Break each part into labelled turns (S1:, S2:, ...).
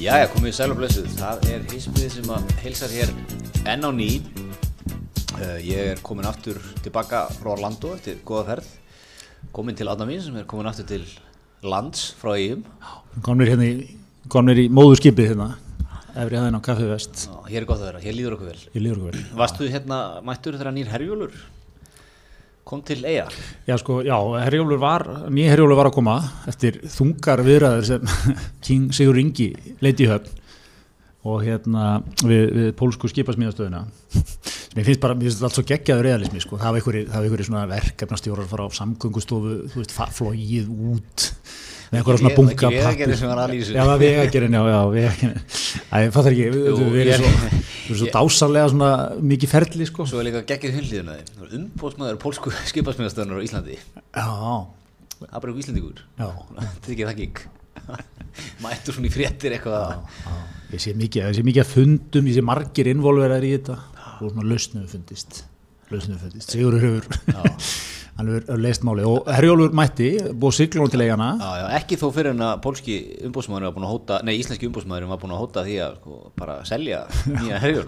S1: Jæja, komið í sæl og blessuð. Það er hispið sem að heilsar hér enn á ný. Uh, ég er komin aftur tilbaka frá Orlando eftir góða ferð. Komin til Adna mín sem er komin aftur til lands frá eigum.
S2: Komnir hérna í, komnir í móðurskipið hérna, efri aðeins á Kaffi Vest
S1: Ná, Hér er gott að vera, hér líður okkur vel.
S2: í Lýrgvel.
S1: Varst þú hérna mættur þegar nýr herjólur? Kom til eiga.
S2: Já, sko, já, Herjólfur var, nýja Herjólfur var að koma eftir þungar viðræður sem King Sigur Ingi leiti í höfn og hérna við, við pólsku skipasmíðastöðuna sem ég finnst bara, mér finnst þetta allt svo geggjaður realismi sko, það hafa einhverju, það hafa einhverju svona verkefnastjórar að fara á samgöngustofu, þú veist, fa- flogið út með einhverja svona
S1: Ekki-
S2: bunga
S1: ekki Vegagerðin sem var að lýsa.
S2: Já, það vegagerinn, já, já, vegagerinn Æ, ég fattar ekki, við-
S1: Jú,
S2: við við
S1: ég-
S2: erum svo, við erum svo dásalega svona mikið ferli sko
S1: Svo er líka geggið hundlíðuna þín. Þú er umbóðsmaður pólsku skipasmiðastöðunar á Íslandi.
S2: Já,
S1: Það er bara ykkur Íslandingur.
S2: já
S1: Þetta ekki það gík. Mættur svona í fréttir eitthvað að...
S2: Já, ég sé mikið, ég sé mikið að fundum, ég sé margir involveraðir í þetta og svona lausnum fundist lausnum fundist, Sigurður hefur hann hefur hefur leist málið og Herjólfur mætti, búið siglunum til eigana
S1: Já, já, ekki þó fyrir en að pólski umbóðsmaðurinn var búin að hóta, nei, íslenski umbóðsmaðurinn var búin að hóta því að sko, bara selja nýja herjól.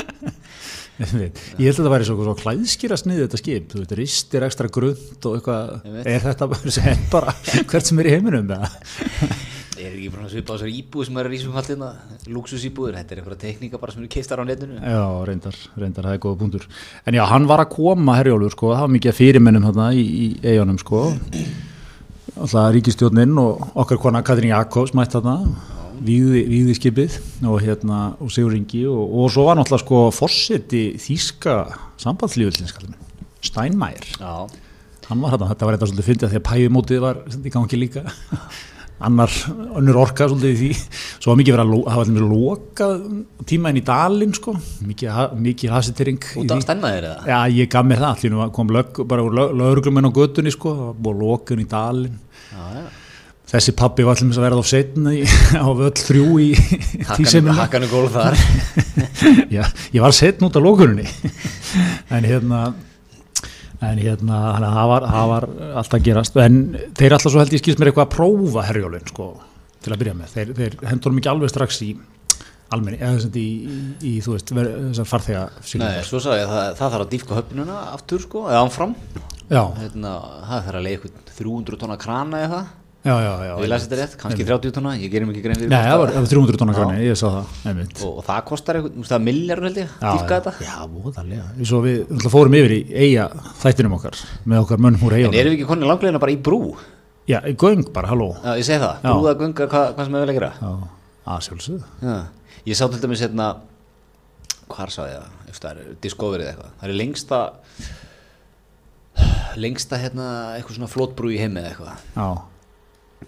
S2: ég veit. Ég held að þetta væri svo, svo klæðskýra sniðið þetta skip, þú veit, ristir ekstra grund
S1: Ég
S2: og eitthvað,
S1: veit.
S2: er þetta bara, sem bara hvert sem er í heiminum eða?
S1: Ég er ekki búin að svipa á þessari íbúð sem er í rísum hallina, lúksusíbúður, þetta er einhverja tekníka bara sem eru keistar á netinu.
S2: Já, reyndar, reyndar, það er góða punktur en já, hann var að koma Herjólfur sko, það var mikið að fyrirmennum þarna í, í eigunum sko alltaf ríkistjórnin og okkar kona Katrín Jakobs mætt þarna víði, víði skipið og hérna og Sigur Ingi og, og svo var náttúrulega sko fórseti þýska sambandslífjöldins kallum Steinmeier,
S1: Já,
S2: hann var þarna þetta var eitthvað svolítið fyndið af því að pæjumótið var í gangi líka annar önnur orka svolítið í því svo var mikið verið að lo- hafa allir verið lokað tíma inn í dalinn sko mikið, ha- mikið hasitering
S1: út af stennaðir eða?
S2: Já, ég gaf mér það, allir nú kom lög, bara úr lögurglumenn á götunni sko, það var búið að lokun í dalinn.
S1: Já, já.
S2: Þessi pappi var allir að verða á setna í, á völl þrjú í
S1: Hakkan,
S2: tísinu.
S1: hakkan er gólf þar.
S2: Já, ég var setn út af lókuninni. en hérna, en hérna, þannig að það var, það var allt að gerast. En þeir alltaf svo held ég skilst mér eitthvað að prófa herjólinn sko, til að byrja með. Þeir, þeir hendurum ekki alveg strax í almenni, eða sem í, í, í, þú veist, ver, þessar farþega
S1: Nei, svo sagði ég að það, það þarf að dýfka höfnuna aftur sko, eða ámfram.
S2: Já,
S1: Hérna, það þarf að leiða eitthvað 300 tonna krana eða það.
S2: já, já, já.
S1: Ég lasi þetta rétt, kannski 30 tonna, ég gerum ekki grein fyrir.
S2: Nei,
S1: hvort
S2: það var,
S1: að-
S2: það var 300 tónar grani, ég sá það, einmitt.
S1: Og, og það kostar eitthvað, þú veist það er milljarun held ég,
S2: Já,
S1: dýfka þetta.
S2: já, já, voðalega. Svo við náttúrulega fórum yfir í eiga þættinum okkar, með okkar mönnum úr
S1: En
S2: eiga.
S1: erum við ekki konið langlegina bara í brú?
S2: Já, í göng bara, halló.
S1: Já, ég segi það,
S2: Já.
S1: brúða gunga hvað, hvað sem við vil að gera.
S2: Já, að sjálfsögðu.
S1: Já. Ég sá til dæmis hérna, hvar sá ég það, ef það er Discovery eða eitthvað. Það er lengsta, lengsta hérna eitthvað svona flótbrú í heimi eða eitthvað.
S2: Já,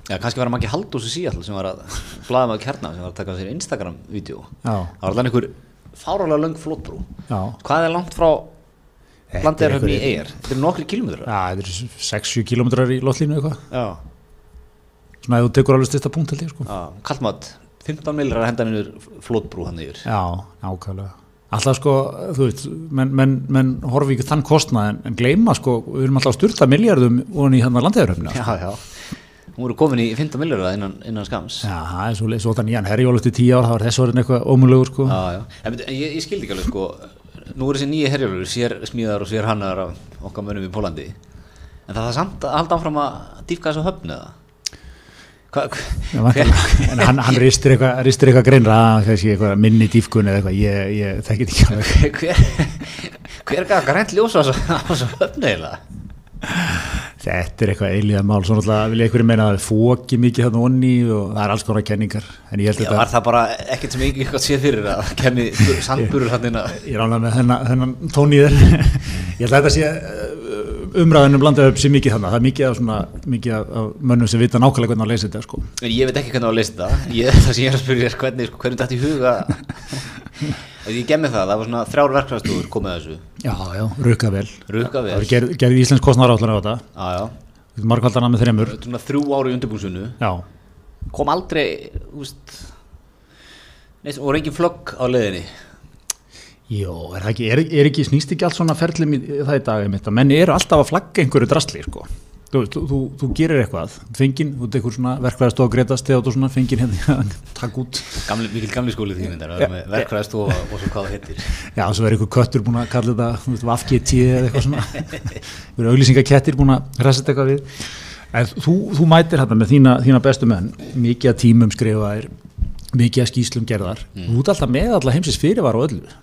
S1: Já, kannski var það Maggi Haldós í Seattle sem var að blaða með kjarnar sem var að taka sér Instagram-vídeó.
S2: já,
S1: Það var allan einhver fárálega löng flótbrú.
S2: já.
S1: Hvað er langt frá
S2: er
S1: landeirhöfni í
S2: einhver-
S1: eigir? Þetta er nokkri kilómetrar.
S2: Já, þetta eru 6-7 kilometrar í lottlínu eitthvað.
S1: Já.
S2: Svona að þú tekur alveg styrsta punkt held ég, sko.
S1: Já, kallmatt, 15 millar að henda niður flótbrú hann yfir.
S2: Já, ákvæðlega. Alltaf sko, þú veist, menn, menn, menn horfi ekki á þann kostnað en, en gleyma sko, við erum alltaf að styrta miljardum og í hérna hann að landeðuröfna.
S1: Já, já. Hún voru komin í 15 millar innan, innan skams. Já,
S2: Já, það er svo leið, svo þannig að herjólf eftir tíu ár, það var þess orðin eitthvað ómulegur sko.
S1: já. En, veitu, en ég, ég skildi ekki alveg sko, nú eru þessi nýja herjálfur, sér smíðar og sér hannar af okkar mönnum í Pólandi. En það er samt að halda áfram að dýfka þessu höfnu eða? Hva,
S2: Já,
S1: hva,
S2: væntanlega. en hann, hann ristir eitthvað ristir eitthvað greinra að þessi eitthvað minni dýfkun eða eitthvað, ég, ég þekki þetta ekki alveg
S1: hver, hver, hver gaf grænt ljós á þessu á þessu höfnu eða?
S2: þetta er eitthvað eilíða mál, svo náttúrulega vil ég einhverju meina að það er fóki mikið þarna onni og það er alls konar kenningar, en ég held þetta
S1: Var það bara ekkert sem ekki eitthvað séð fyrir að kemni sandburur hann innan?
S2: ég rána með þennan, þennan tóníður ég held að þetta sé uh, umræðunum blandað upp sér mikið þarna, það er mikið af, svona, mikið af- af mönnum sem vita nákvæmlega hvernig að leysa þetta sko.
S1: En ég veit ekki hvernig á að leysa það. Ég, það sem ég er að spyrja er hvernig, sko, hvernig dætt í huga. Þegar ég gemmi það, það var svona þrjár verkfæðstúr komið að þessu.
S2: já, já, rukka vel
S1: Rukka
S2: það
S1: vel.
S2: er gerð, gerð íslensk kostnar á þetta
S1: Já, já.
S2: margvaldana með þremur,
S1: Svona þrjú ári í undirbúsunu.
S2: já
S1: Kom aldrei, þú veist, neitt, og reyngin flögg á leiðinni.
S2: Jó, er, það ekki, er, er ekki, snýst ekki allt svona ferlum í það í dag einmitt að menn eru alltaf að flagga einhverju drasli sko. þú, veist, þú, þú, þú gerir eitthvað fengin, þú tekur svona verkvæðast og gretast eða þú svona fengin hérna takk út
S1: Gamli, mikil gamli skóli því myndar, með verkræðst og, og svo hvað það heitir.
S2: já, svo er einhver köttur búin að kalla þetta vafgeti eða eitthvað svona við erum auglýsingakettir búin að resetta eitthvað við en þú, þú mætir hérna með þína, þína bestu menn mikið að tímum skrifaðir mikið að skýslum gerðar þú ert alltaf með alltaf heimsins fyrirvar og öllu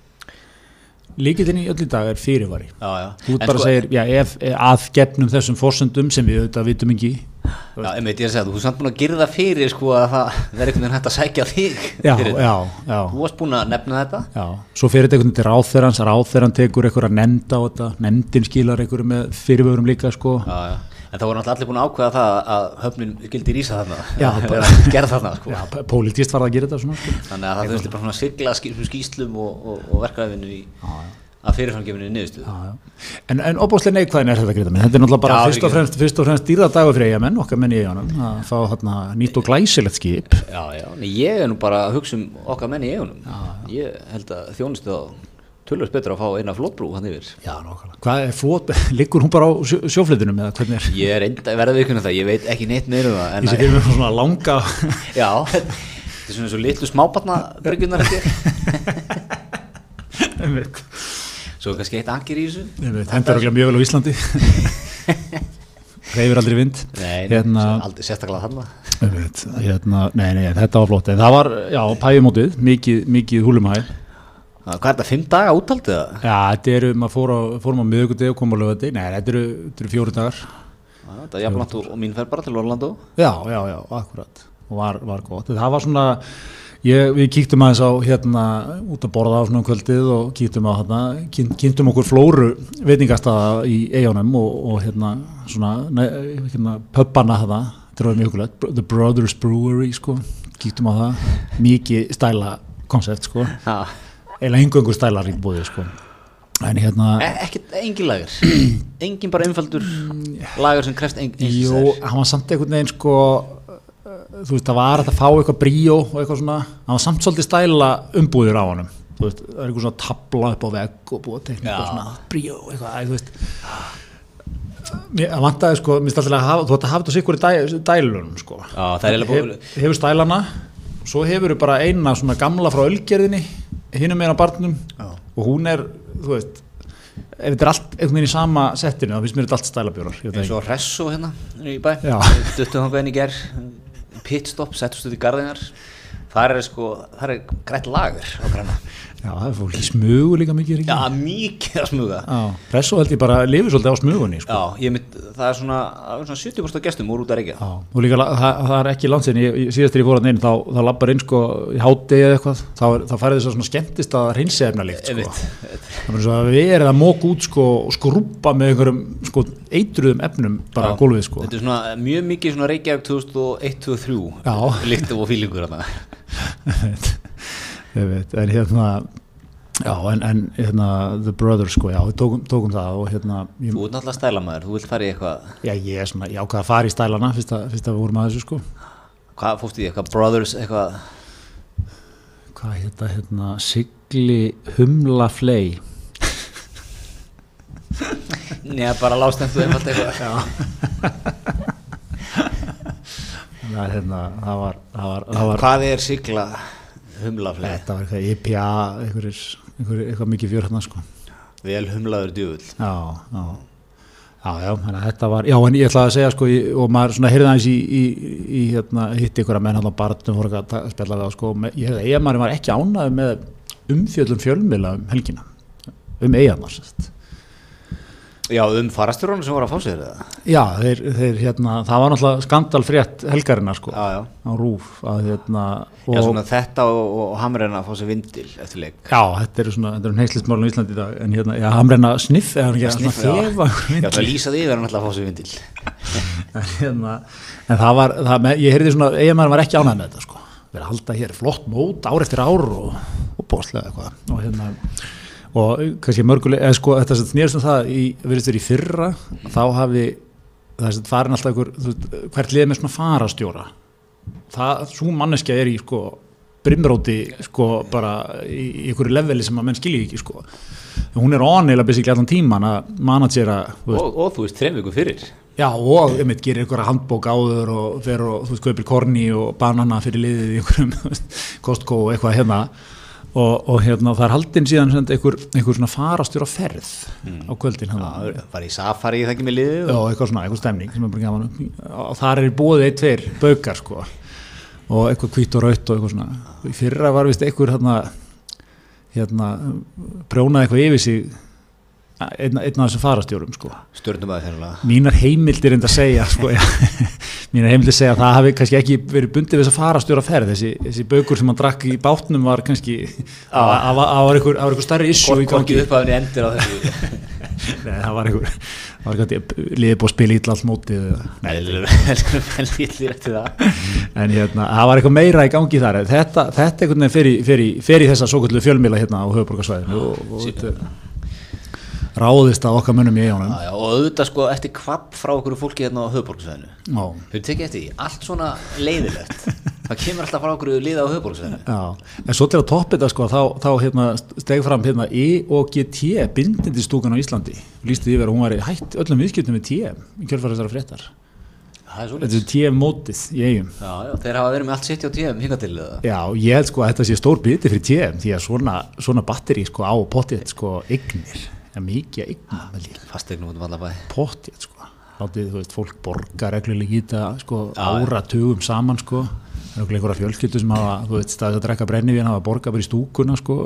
S2: líkildin í öll í dag er fyrirvari
S1: Já, já.
S2: Þú
S1: En
S2: ert bara
S1: sko-
S2: að segir, já, ef, ef að gefnum þessum forsendum sem við auðvitað vitum ekki
S1: Já, einmitt, ég er að segja, þú ert samt búin að gyrða fyrir sko að það verður einhvern veginn hægt að sækja þig
S2: Já,
S1: fyrir þetta.
S2: já, já,
S1: Þú varst búin að nefna þetta
S2: já Svo fyrir þetta einhvern veginn til ráðþerrans, ráðþerran tekur einhverja nefnd á þetta, nefndin skilar einhverju með fyrirvörum líka, sko
S1: já, já. En það voru náttúrulega allir búin að ákveða það að höfnin gildi rísa þarna
S2: Já, bara-
S1: bara gerð þarna sko
S2: Já, pólitist var það að gera þetta svona, sko
S1: Þannig að það þurfti bara svona að sigla skýslum, skýslum og, og, og verkræðinu í að fyrirframgefinu niðurstöðu
S2: Já, já. En, en opáslega neikvæðin er þetta greita minn, þetta er náttúrulega bara
S1: Já, Mm.
S2: fyrst, og
S1: ekki.
S2: fremst, fyrst og fremst dýrðardagur fyrir eigamenn, okkar menn í eigunum, að fá hérna nýtt og glæsilegt skip.
S1: Já, já, en ég er nú bara að hugsa um okkar menn í eigunum Ég held að þjónustu þá tölvöld betur að fá eina flótbrú hann yfir
S2: Já, nokkala. Hvað er flót, liggur hún bara á sjó, sjóflitunum eða hvernig er?
S1: Ég er enda verða viðkunna það, ég veit ekki neitt meira um það en
S2: Ég sé
S1: að-
S2: fyrir mér svona langa,
S1: Já, þetta er svona svo litlu smábarnabryggjurnar held ég
S2: einmitt.
S1: Svo er kannski eitt angir í þessu
S2: Nei, Þetta hendur okkur mjög vel á Íslandi Reyfir aldrei vind
S1: Nei, hérna,
S2: hérna,
S1: aldrei sérstaklega þarna
S2: einmitt, hérna, nei, nei, þetta var flott En það var, já, pæjumótið, mikið, mikið húlumhæ Já,
S1: Hvað er þetta, fimm daga útaldið það?
S2: þetta eru, maður fór á, fórum á miðugudegi og kom á lögadegi Nei, þetta eru, þetta eru fjóru dagar
S1: Þetta er jafnlant og, og mín fer bara til Orlando
S2: Já, já, já, akkurat Og var, var gott, það var svona Ég, við kíktum aðeins á hérna út að borða á svona um kvöldið og kíktum á hérna, kyn- kynntum okkur flóru veitingastaða í eigunum og, og hérna svona, nei, hérna pöppana hérna, þetta var mjög hugulegt The Brothers Brewery sko, kíktum á það mikið stæla koncept sko,
S1: ha,
S2: eiginlega engöngur stælar í búið sko, en hérna
S1: e Ekkert, engin lagur Engin bara einfaldur lagur sem krefst ein, ein,
S2: Jú, hann var samt einhvern veginn sko uh, þú veist, það var hægt að fá eitthvað bríó og eitthvað svona, hann var samt svolítið stæla umbúður á honum þú veist, það er einhver svona tabla upp á vegg og búið að teikna eitthvað
S1: Já.
S2: svona bríó eitthvað, æ, þú veist Mér það vantaði sko, mér stætti að hafa, þú ætti að hafa þetta sikkur í dæ, dælunum sko.
S1: Já, það er eiginlega búið
S2: Hef- Hefur stælana, svo hefur bara eina svona gamla frá ölgerðinni, hinum meira barnum
S1: Já.
S2: og hún er, þú veist, ef þetta er allt einhvern veginn í sama settinu, þá finnst mér þetta allt stælabjórar. ég veit það
S1: eins og Resso hérna niður í bæ,
S2: Já.
S1: duttum þangað inn í ger pitstop, settust út í garðingar þar er sko, þar er grætt lagur á græna,
S2: Já, það er fólk í smugu líka mikið er
S1: já
S2: ekki?
S1: mikið að smuga
S2: Já. Presso held ég bara lifið svolítið á smugunni sko.
S1: já, ég mynd, það er svona, það er svona 70% af gestum úr út að reykja
S2: Já. Og líka, la- það, það er ekki langt sér síðast þegar ég fór hann inn, þá, þá labbar inn sko í hátegi eða eitthvað, þá, er- þá færði þess að svona skemmtist að hreinsefna líkt sko.
S1: Einmitt.
S2: Það er svo að við erum að móka út sko og skrúpa með einhverjum sko eitruðum efnum bara á gólfið sko.
S1: Þetta er svona mjög mikið svona Reykjavík 2001-2003
S2: Já.
S1: líkt og fílingur þarna
S2: ég veit, en hérna, já, en, en hérna, The Brothers sko, já, við tókum, tókum það og hérna, ég,
S1: Þú ert náttúrulega stæla maður, þú vilt fara í eitthvað
S2: já, ég er svona, ég ákvað að fara í stælana fyrst að, fyrst að við vorum að þessu sko.
S1: hvað fóst í því, eitthvað brothers eitthvað
S2: hvað hérna, hérna, sigli humla flei
S1: Nei, bara lástendu einfalt eitthvað
S2: það, er, hérna, það var, það var, það var
S1: Hvað er sigla humlafleg?
S2: þetta var eitthvað IPA einhverjir, einhverjir, eitthvað mikið fjör hérna sko
S1: Vel humlaður djöfull
S2: já, já Já, já, þannig að þetta var, já, en ég ætlaði að segja sko, í- og maður svona heyrði aðeins í, í, í hérna, hitti ykkur að menn hann á barnum voru eitthvað að ta- spjalla við á sko, og me- ég heyrði að ég maður var ekki ánæði með umfjöllum fjölmila um helgina, um eigarnar, sérst.
S1: Já, um farastjórónu sem voru að fá sér eða?
S2: Já, þeir, þeir, hérna, það var náttúrulega skandalfrétt helgarina, sko.
S1: Já, já
S2: á rúf að hérna og,
S1: Já, svona þetta og, og hamreina að fá sér vindil eftir leik
S2: já, þetta eru svona, þetta eru neyslismálun í Íslandi í dag en hérna, já, hann reyna sniff eða hann ekki svona
S1: Sniff, já.
S2: þefa
S1: Já, það lýsa því að hann ætla að fá sér vindil
S2: en, hérna, en það var, það, með- ég heyrði svona eiginmaður var ekki ánægð með þetta sko við erum að halda hér flott mót ár eftir ár og, og bóðslega eitthvað og hérna og kannski mörguleg, eða sko þetta sem snýrst um það í, verðist verið í fyrra þá hafi, það sem farin alltaf ykkur, þú veist, hvert lið með svona farastjóra það, svo manneskja er í sko brimróti sko bara í, í ykkur leveli sem að menn skilji ekki sko hún er on eila basically allan tíman að managera þú veist,
S1: og, og þú veist, þreim viku fyrir
S2: Já, og einmitt gerir einhverja handbók áður og fer og, þú veist, kaupir korni og banana fyrir liðið í einhverjum þú veist, Costco og eitthvað hérna og, og hérna, það er haldin síðan sem sagt einhver, einhver svona farastjóra ferð á kvöldin hérna
S1: Það var í safari það ekki með liðið
S2: Já,
S1: og
S2: eitthvað svona, eitthvað stemning sem er bara gaman og þar er í bóðið eitt tveir baukar sko og eitthvað hvít og raut og eitthvað svona í fyrra var vist einhver hérna hérna, prjónaði eitthvað yfir sig einn, einn af þessum farastjórum sko
S1: stjórnum að þeirra
S2: mínar heimildir enda að segja sko, já, mínar heimildir segja að það hafi kannski ekki verið bundið við þess að farastjóra ferð þessi, þessi baukur sem hann drakk í bátnum var kannski það var- það var það var einhver, það var einhver starri issue í gangi
S1: Korki upphafni endir á þessu
S2: Nei, það var einhver það var kannski liðið búið að spila ítla allt mótið eða-
S1: Nei, vel lítið eftir það
S2: en hérna, það var eitthvað meira í gangi þar þetta, þetta einhvern veginn fer í- fer í- fer í þessa svo kallu fjölmila hérna á höfuborgarsvæðinu og, og þetta, ráðist að okkar mönnum í eigunum
S1: Já, já, Og auðvitað sko eftir kvapp frá okkur fólki hérna á höfuborgsveðinu
S2: já,
S1: Hefur tekið eftir því, allt svona leiðilegt Það kemur alltaf frá okkur liða á höfuborgsveðinu
S2: já, en svo til að toppa þetta sko, þá, þá hérna, steg fram hérna EOGT, bindindi stúkan á Íslandi lístið yfir að hún var í hætt öllum viðskiptum með TM, í kjölfæra þessara fréttar
S1: Það er
S2: þetta
S1: svolítið
S2: er TM mótið í eigum
S1: Já, já, þeir hafa verið með allt 70 og 10 hinga til það
S2: Já, ég held sko að þetta sé stór biti fyrir TM því að svona, svona batteri sko á pottið sko eignir, það er mikið eignir með líf
S1: Fastegnum út um alla bæ
S2: pottið sko Látið, þú veist, fólk borgar reglulega í þetta sko,
S1: Já, já.
S2: áratugum saman sko. það er okkur einhverja fjölskyldu sem hafa þú veist, staðið að drekka brennivín hafa borgað bara í stúkuna sko,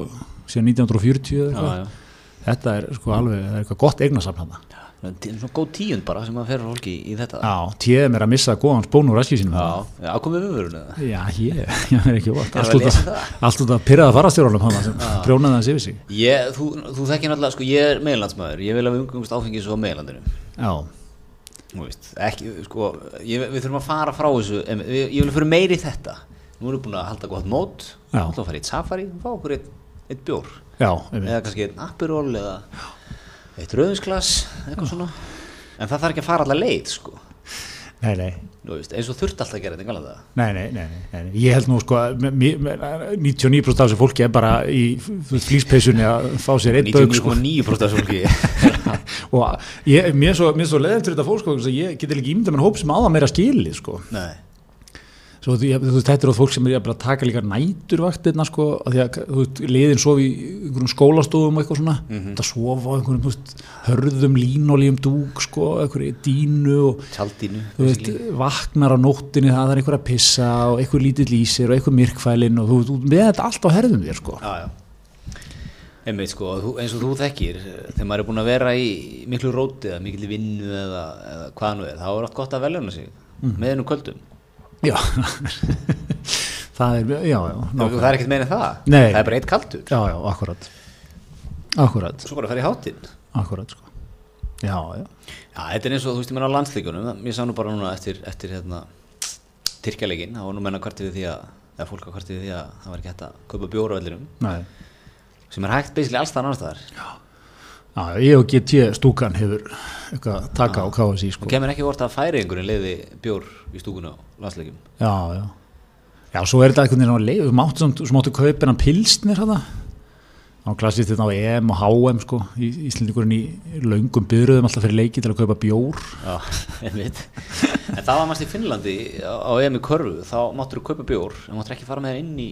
S2: síðan 1940 eða eitthvað.
S1: Já, já.
S2: þetta er sko alveg, það er eitthvað gott eignasafn hann
S1: En þetta er Svona góð tíund bara sem að fer fólki í þetta
S2: Já, TM er að missa góðan spónu úr ræski sínum
S1: Já, já, komið við vörun eða
S2: Já, ég, ég er ekki
S1: Ég
S2: óvart
S1: var
S2: allt
S1: að
S2: út af-
S1: lesa það.
S2: allt út að pyrraða farastjórunum hann sem prjónaði hans yfir sig
S1: Ég, þú, þú þekkir náttúrulega, sko, ég er meðlandsmaður, ég vil að við umgangumst áfengið svo á meðlandinu.
S2: Já,
S1: Þú veist, ekki, sko, ég, við þurfum að fara frá þessu, em, við, ég vil fyrir meiri í þetta. Nú erum við búin að halda gott mót, þá
S2: Já.
S1: erum við að fara í eitt safari, fá okkur eitt, eitt bjór,
S2: já, einmitt.
S1: eða kannski eitt apiról eða eitt rauðinsglas, eitthvað svona. En það þarf ekki að fara alla leið, sko,
S2: nei, nei
S1: Þú veist, eins og þurft alltaf að gera þetta, engalega það.
S2: Nei, nei, nei, nei, nei, ég held nú sko að me- me- me- 99% af þessu fólki er bara í flýspeysunni að fá sér eitt bauk sko.
S1: 99,9% af fólki.
S2: og ég, mér er svo, mér er svo leðið til þetta fólk sko, þess að ég geti ekki ímyndað mér hóp sem áða meira skili sko.
S1: Nei,
S2: Svo, þú, ég, þú veist, þetta eru fólk sem er jafnvel að taka líka næturvaktirna sko, að því að þú veist, liðin sofi í einhverjum skólastofum og eitthvað svona, þetta sofa á einhverjum þú veist, hörðum línolíum dúk sko, einhverju dínu og
S1: tjaldinu,
S2: þú veist, vaknar á nóttinni það er einhver að pissa og einhver lítill í sér og einhver myrkfælinn og þú veist, þú- með þetta allt á herðum þér sko.
S1: Já, já. Einmitt sko, þú- eins og þú þekkir, eh, þegar maður er búinn að vera í miklu róti eða miklu vinnu eða, eða hvað nú er, þá er oft gott að velja hana sig með hennum kvöldum.
S2: Já, það er, já, já, ná,
S1: Það er ekkert meina það,
S2: Nei.
S1: það er bara eitt kaldur.
S2: já, já, akkurat, akkurat,
S1: Svo bara að fara í hátinn.
S2: akkurat sko. Já, já,
S1: Já, þetta er eins og þú veist, ég menna á landslíkunum, það- ég sá nú bara núna eftir, eftir hérna, Tyrkjaleikin, þá var nú menna kvartið við því að, eða fólk að kvartið við því að það var ekki hægt að kaupa bjóra vellirum,
S2: nei,
S1: sem er hægt beislega alls þar annars þar.
S2: já, ég og GT stúkan hefur eitthvað taka á KSI sko.
S1: Það kemur ekki vort að færi einhverjum leiði bjór í stúkun á landsleikum.
S2: Já, já. Já, svo er þetta einhvern veginn á leið, þú máttu, samt- þú máttu kaupin hann pilsnir hana. Á klassist þetta á EM og HM sko, í Íslandingurinn í löngum byrðuðum alltaf fyrir leiki til að kaupa bjór.
S1: Já, einmitt. En það var mæst í Finnlandi á á EM í körfu, þá máttur þú kaupa bjór, en máttur ekki fara með það inn í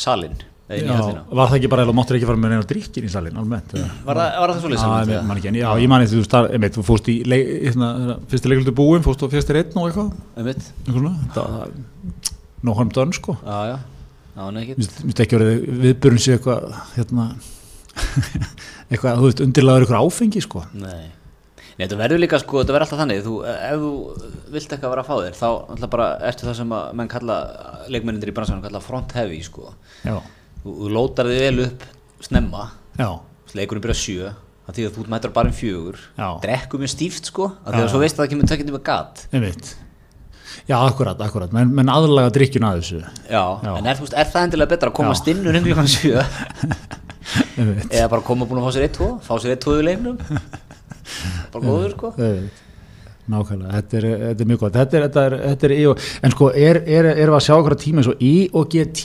S1: salin, eða inn í hellina.
S2: var það ekki bara, eða máttu ekki fara með neina drikkin í salin almennt? eða?
S1: Var það, var það svolítið
S2: Já,
S1: saman?
S2: ég man ekki, en já, ég mani þú, star, einmitt, þú fórst í leik, hérna, fyrsti leikultu búin, fórst á fyrsti reitn og eitthvað,
S1: Einmitt,
S2: eitthvað svona, þetta, no harm done sko.
S1: já, já, já, hann ekki.
S2: Mér finnst- mér finnst ekki verið viðbörun sé eitthvað, hérna, eitthvað, þú veist, undirlaður ykkur áfengi sko.
S1: Nei. Nei, þetta verður líka, sko, þetta verður alltaf þannig, þú, ef þú vilt ekki að vera að fá þér, þá alltaf bara ertu það sem að menn kalla, leikmennindir í bransanum kalla front heavy, sko.
S2: Já,
S1: Þú, þú lótar þig vel upp snemma,
S2: já,
S1: leikunum byrja sjö, það því að þú ert mættur bara um fjögur,
S2: Já.
S1: drekkum mjög stíft, sko, af
S2: Já,
S1: því að
S2: já.
S1: svo veist að það kemur tökjandi með gat.
S2: einmitt. Já, akkurat, akkurat, menn, menn aðlaga drikkjun að þessu,
S1: Já,
S2: Já.
S1: en er, þú veist, er það endilega betra að komast inn um klukkan 7
S2: einmitt,
S1: eða bara koma búin að fá sér 1-2 fá sér 1-2 í leiknum bara góður sko
S2: einmitt. Nákvæmlega, þetta er, þetta er mjög gott, þetta er, þetta er, þetta er, EO. en sko, er, er, erum við að sjá okkur að tíma eins og IOGT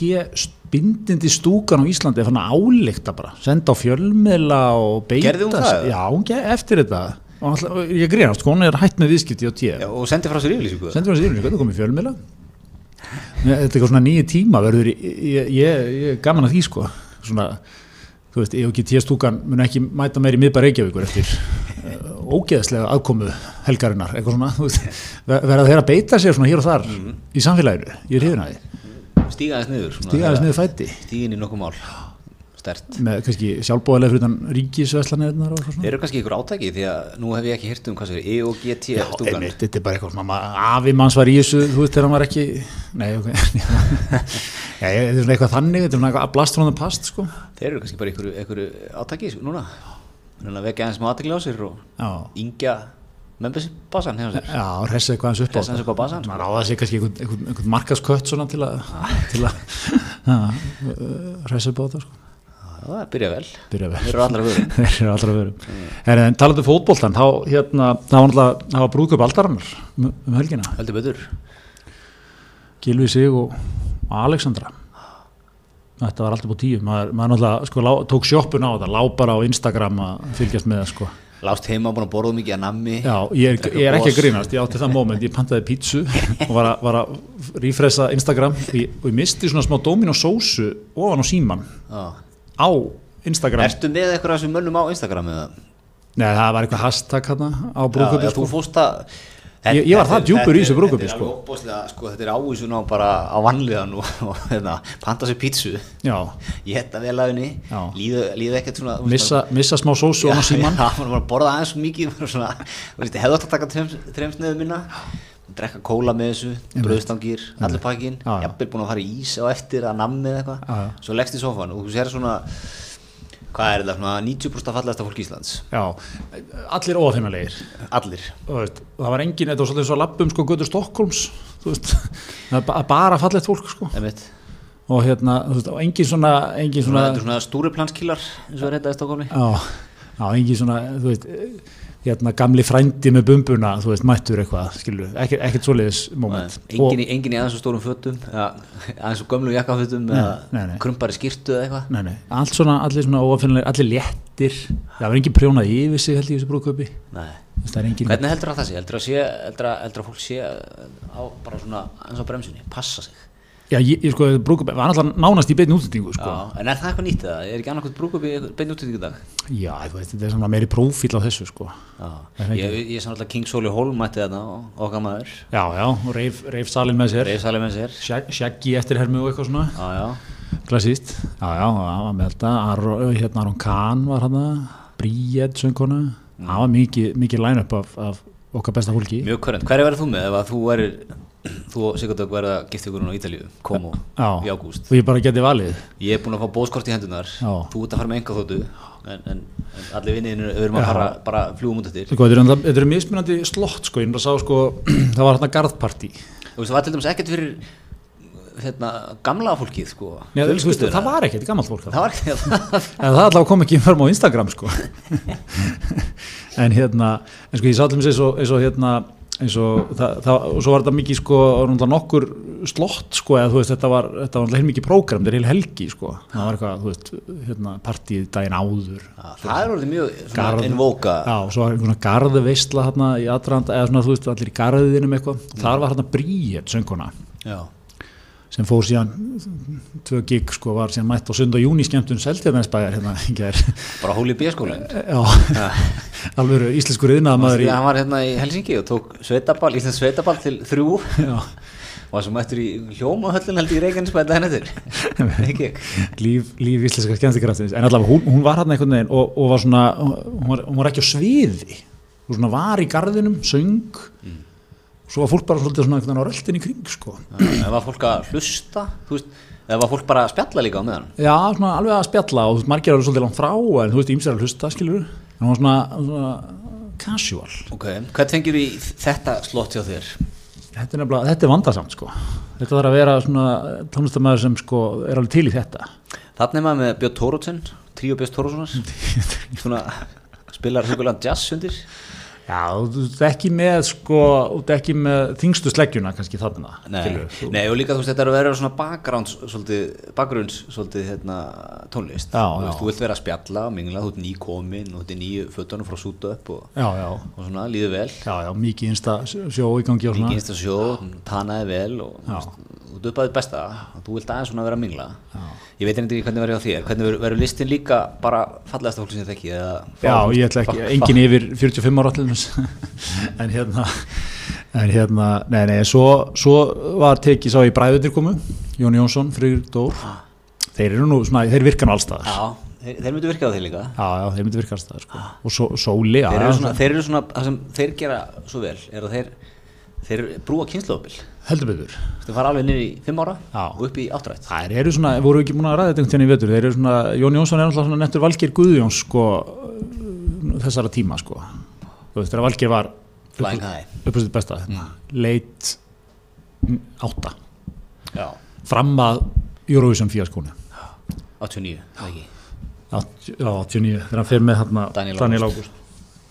S2: bindindi stúkan á Íslandi er fann að álíkta bara, senda á fjölmiðla og beita.
S1: Gerði hún það?
S2: Já, hún gerði eftir þetta. og alltaf, ég grínast, sko, hún er hætt með viðskipti á tíu
S1: Já, og sendi frá sér yfirlýsingu
S2: sendur hann sér yfir, hvernig komið fjölmila þetta er eitthvað svona nýju tíma verður, í- ég, ég, ég er gaman að því sko svona, þú veist, ég og ekki tíastúkan mun ekki mæta meir í miðbæ Reykjavíkur eftir eh, ógeðslega aðkomu helgarinnar, eitthvað svona þú veist, ver- verða þeir að beita sér svona hér og þar í samfélaginu, ég er hrifin að því
S1: stíga aðeins niður svona,
S2: stíga aðeins niður fæti
S1: stíga inn í nokkuð mál stert
S2: með kannski sjálfbóðilega fyrir utan ríkisveslanirnar og eitthvað svona
S1: eru kannski ykkur átæki því að nú hef ég ekki hirt um hvað sér E og GT
S2: Já,
S1: stúkan
S2: einmitt, þetta er bara eitthvað svona, ma- afi manns var í þessu, þú veist, þegar hann var ekki, nei, ok, já, þetta er svona eitthvað þannig, þetta er svona eitthvað blast frá það past, sko.
S1: þeir eru kannski bara ykkur, ykkur átæki sko, núna Þannig að vekja aðeins með aðtekli á sér og
S2: Já,
S1: yngja membesbassan hefum sér
S2: já, hressa eitthvað hans upp á
S1: Hressa aðeins upp á basann, sko.
S2: Maður ráða sér kannski einhvern, einhvern, einhvern markaskött svona til að, til að, að hressa upp á þetta, sko.
S1: það byrja vel
S2: Byrja vel.
S1: þeir eru allra vörum
S2: Þeir eru allra verum.
S1: Mm.
S2: Herri, en talandi um fótboltan, þá, hérna, það var náttúrulega, það var brúðköp aldarannar um, um helgina.
S1: heldur betur
S2: Gilvi sig og Alexandra þetta var alltaf búið tíu maður, maður náttúrulega sko, lá, tók sjoppun á þetta lá bara á Instagram að fylgjast með það sko.
S1: lást heima búin að borða mikið að nammi
S2: já, ég er, ég er ekki að grínast ég átti það moment, ég pantaði pítsu og var að, var að rífresa Instagram og ég, og ég misti svona smá dómin og sósu ofan á síman
S1: Já.
S2: á Instagram
S1: ertu með eitthvað af þessum mönnum á Instagram eða
S2: Nei, það var eitthvað hashtag hérna
S1: Já,
S2: á
S1: já,
S2: brúkupi
S1: þú
S2: sko.
S1: fórst að
S2: Ég- ég var það djúpur í þessu brúðkaupi,
S1: sko.
S2: sko.
S1: sko, þetta er ávísun á bara á vannliðan og, og hérna, panta sér pítsu
S2: já,
S1: ég hetta vel að henni
S2: Já.
S1: líða, líða ekkert svona þú veist,
S2: missa, missa smá sósu ofan á
S1: maður-
S2: síman
S1: já, maður var að borða aðeins svo mikið maður svona, þú veist, ég hefði átt að taka þrems- þremsneiðu minna drekka kóla með þessu, bröðstangir allur pakkin,
S2: Já, já.
S1: jafnvel búin að fara í ís á eftir að nammi eða
S2: Já, já.
S1: eitthvað svo leggst í sofan og þú sér svona hvað er þetta, svona 90% fallegasta fólk Íslands
S2: já, allir óafinnalegir
S1: allir
S2: Þú veist, og það var engin, þetta var svolítið eins og lappum sko götu Stokkólms þú veist, það er ba- bara fallegt fólk sko
S1: Einmitt.
S2: og hérna, þú veist, og engin svona engin
S1: Svona,
S2: svona,
S1: þetta er svona stúriplanskílar eins og er þetta í Stokkólni
S2: á, á, engin svona þú veist, eh, hérna gamli frændi með bumbuna, þú veist, mættur eitthvað skilur, ekkert, ekkert svoleiðis moment
S1: engin, í- engin í aðeins og stórum fötum eða aðeins og gömlu jakkafötum
S2: nei, nei.
S1: eða krumpari skýrtu eða eitthvað
S2: nei, nei, allt svona, allir svona óafinnlega allir léttir, það var engin prjónað yfir sig held ég í þessu brúköpi,
S1: Nei.
S2: Þú veist, það er engin
S1: hvernig heldur það það sé? Heldur það sé, heldur að, heldur að fólk sé á bara svona eins og bremsunni, passa sig
S2: já, ég, ég sko, brúköpi, var alltaf nánast í beinni útlendingu sko,
S1: Já, en er það eitthvað nýtt eða? Er ekki annarkvæmt brúkup í beinu útlýtingu dag?
S2: já, þú veist, þetta er svona meiri prófíl á þessu sko
S1: Já,
S2: Er það
S1: ég, ég, ég sann alltaf King Soli Holm mætti þetta og okkar maður,
S2: já, já, og reif, reif salin með sér
S1: reyðsalið með sér
S2: Shag- Shaggy eftir hermu og eitthvað svona
S1: Já, já,
S2: klassíst, já já, það var með þetta Aron, hérna Aron Kahn var hann Bríett söngkona það var mikið, mikið line-up af, af okkar besta fólki
S1: Mm. mjög körrend. Hverja verður þú með ef að þú verir, þú og Sigurdögg verða gift ykkur núna á Ítalíu, komu
S2: Já.
S1: í ágúst?
S2: og ég bara geti valið
S1: Ég er búinn að fá bóðskort í hendunar,
S2: Já.
S1: þú ert að fara með enga þóttu, en, en, en allir vinniðinu erum að fara bara fljúum út eftir.
S2: Sko, þetta, er, enda- þetta er mismunandi slott sko, ég er að sá sko, það var hann garðpartí
S1: Þú veist, það var til dæmis ekkert fyrir hérna, gamla fólkið, sko.
S2: Nei, þú veist,
S1: Fjölskylduna.
S2: það var ekkert gammalt fólk
S1: það var ekki það.
S2: en það allavega kom ekki fram á Instagram sko en hérna en sko ég sá til mér eins og, eins og hérna eins og það, það og svo var þetta mikið sko var náttúrulega nokkur slott sko eða þú veist þetta var þetta var náttúrulega heil mikið prógram þetta er heil helgi sko það var eitthvað þú veist hérna partíð daginn áður
S1: það er orðið mjög
S2: Garð-
S1: svona invóka.
S2: Já, og svo var einhvern svona garðveistla hérna í aðranda eða svona þú veist allir í garðinum eitthvað þar var hérna Bríett sönguna
S1: Já.
S2: sem fór síðan tvö gig sko var síðan mætt á sund og júni skemmtun Seltjarnæsbæjar hérna í gær
S1: Bara sko, hóli í bíaskólinn.
S2: Já, alveg íslenskur yðnaðamæður í
S1: Hann var hérna í Helsingi og tók sveitaball, íslensk sveitaball til þrjú.
S2: Já.
S1: Var svo mættur í hljómahöllin held ég í Reykjanesbæði daginn eftir. Ekki.
S2: líf, líf íslenska skemmtikraftins en allavega hún, hún var hann einhvern veginn og, og var svona, hún var, hún var ekki á sviði hún svona var í garðinum, söng svo var fólk bara svolítið svona einhvern veginn á röldin í kring sko
S1: Það var fólk að hlusta, þú veist, það var fólk bara að spjalla líka á meðan.
S2: já, svona alveg að spjalla og þú veist, margir eru svolítið langt frá en þú veist, ýmsir að hlusta, skilur en hún var svona, svona casual
S1: Ok, hvað tengir í þetta slott hjá þér?
S2: þetta er nefnilega, þetta er vandasamt sko þetta þarf að vera svona tónlistamæður sem sko er alveg til í þetta
S1: Þannig maður með Björn Tórótsen, tríu Björn Tórótsenar, svona spilar hugulega jazz undir.
S2: Já, þú ert ekki með sko, þú ert ekki með þingstu sleggjuna kannski þarna
S1: Nei,
S2: skilurðu. Þú-
S1: nei, og líka þú veist þetta er að vera svona bakgrunns svolítið, bakgrunns svolítið hérna, tónlist
S2: Já,
S1: þú, veist,
S2: já.
S1: þú vilt vera að spjalla, mingla, þú ert ný komin og þetta er nýju fötunum frá súta upp og,
S2: Já, já,
S1: og svona, líður vel
S2: já, já, mikið einsta sjó í gangi á svona
S1: mikið einst að sjó, tanaði vel og þú
S2: Já.
S1: veist, þú ert upp að þið besta og þú vilt aðeins svona vera að mingla ég veit reyndar ekki hvernig verið á þér hvernig verður- verður listin líka bara fallegasta fólk sem þetta ekki eða
S2: Já,
S1: fá-
S2: ég ætla ekki,
S1: fá-
S2: engin yfir 45 ára allir en hérna en hérna, nei, nei, svo, svo var tekið sá í bræðutir komu Jón Jónsson, Frigur Dór
S1: Ah.
S2: þeir eru nú, svona, þeir virka nú allstaðar já,
S1: Já, þeir, þeir myndu virka á þeir líka
S2: já, þeir myndi virka allstaðar sko. og svo, sóli, já,
S1: þeir eru, svona,
S2: já,
S1: þeir eru svona, það sem þeir gera svo vel er að þeir, þeir brúa kynslaðubil
S2: heldur betur
S1: þeir fara alveg niður í 5 ára
S2: Já.
S1: og upp í 8 rætt
S2: Þær eru svona, voru ekki múin að ræða þetta einhvern veginn í vetur, þeir eru svona, Jón Jónsson er alltaf svona nettur Valgeir Guðjóns sko, uh, þessara tíma sko. Þú veist, þegar Valgeir var
S1: Flying high
S2: uppast sitt besta, mm. leit mm, átta,
S1: Já,
S2: fram að Eurovision fíaskónu,
S1: 89, það ekki
S2: Átt- já, 89, þegar hann fer með hérna
S1: Daniel
S2: Daniel Ágúst.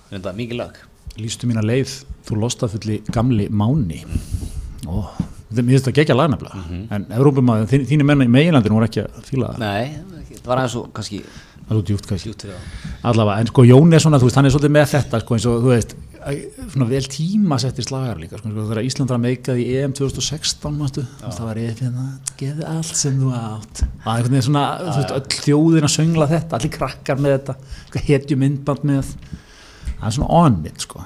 S1: Þetta er mikið lag
S2: Lýstu mína leið, þú losta fulli gamli máni. Ó, þetta mér finnst það gegja lagnafla, mm -hmm. en Evrópumæðin, þín, þínir menn í meginlandinu voru ekki að fíla það,
S1: Mhm. Nei, ekki- það var aðeins og kannski
S2: það er svo djúpt kannski.
S1: djúpt við á
S2: allavega, en sko Jón er svona, þú veist, hann er svolítið með þetta, sko, eins og, þú veist að- svona vel tímasettir slagar líka sko, sko, þegar Ísland var meikað í EM 2016 manstu, það var EF hérna gefðu allt sem þú átt það er einhvern veginn svona, þú veist, öll þjóðin að söngla þetta allir krakkar með þetta, sko, hetju myndband með, það er svona on it, sko,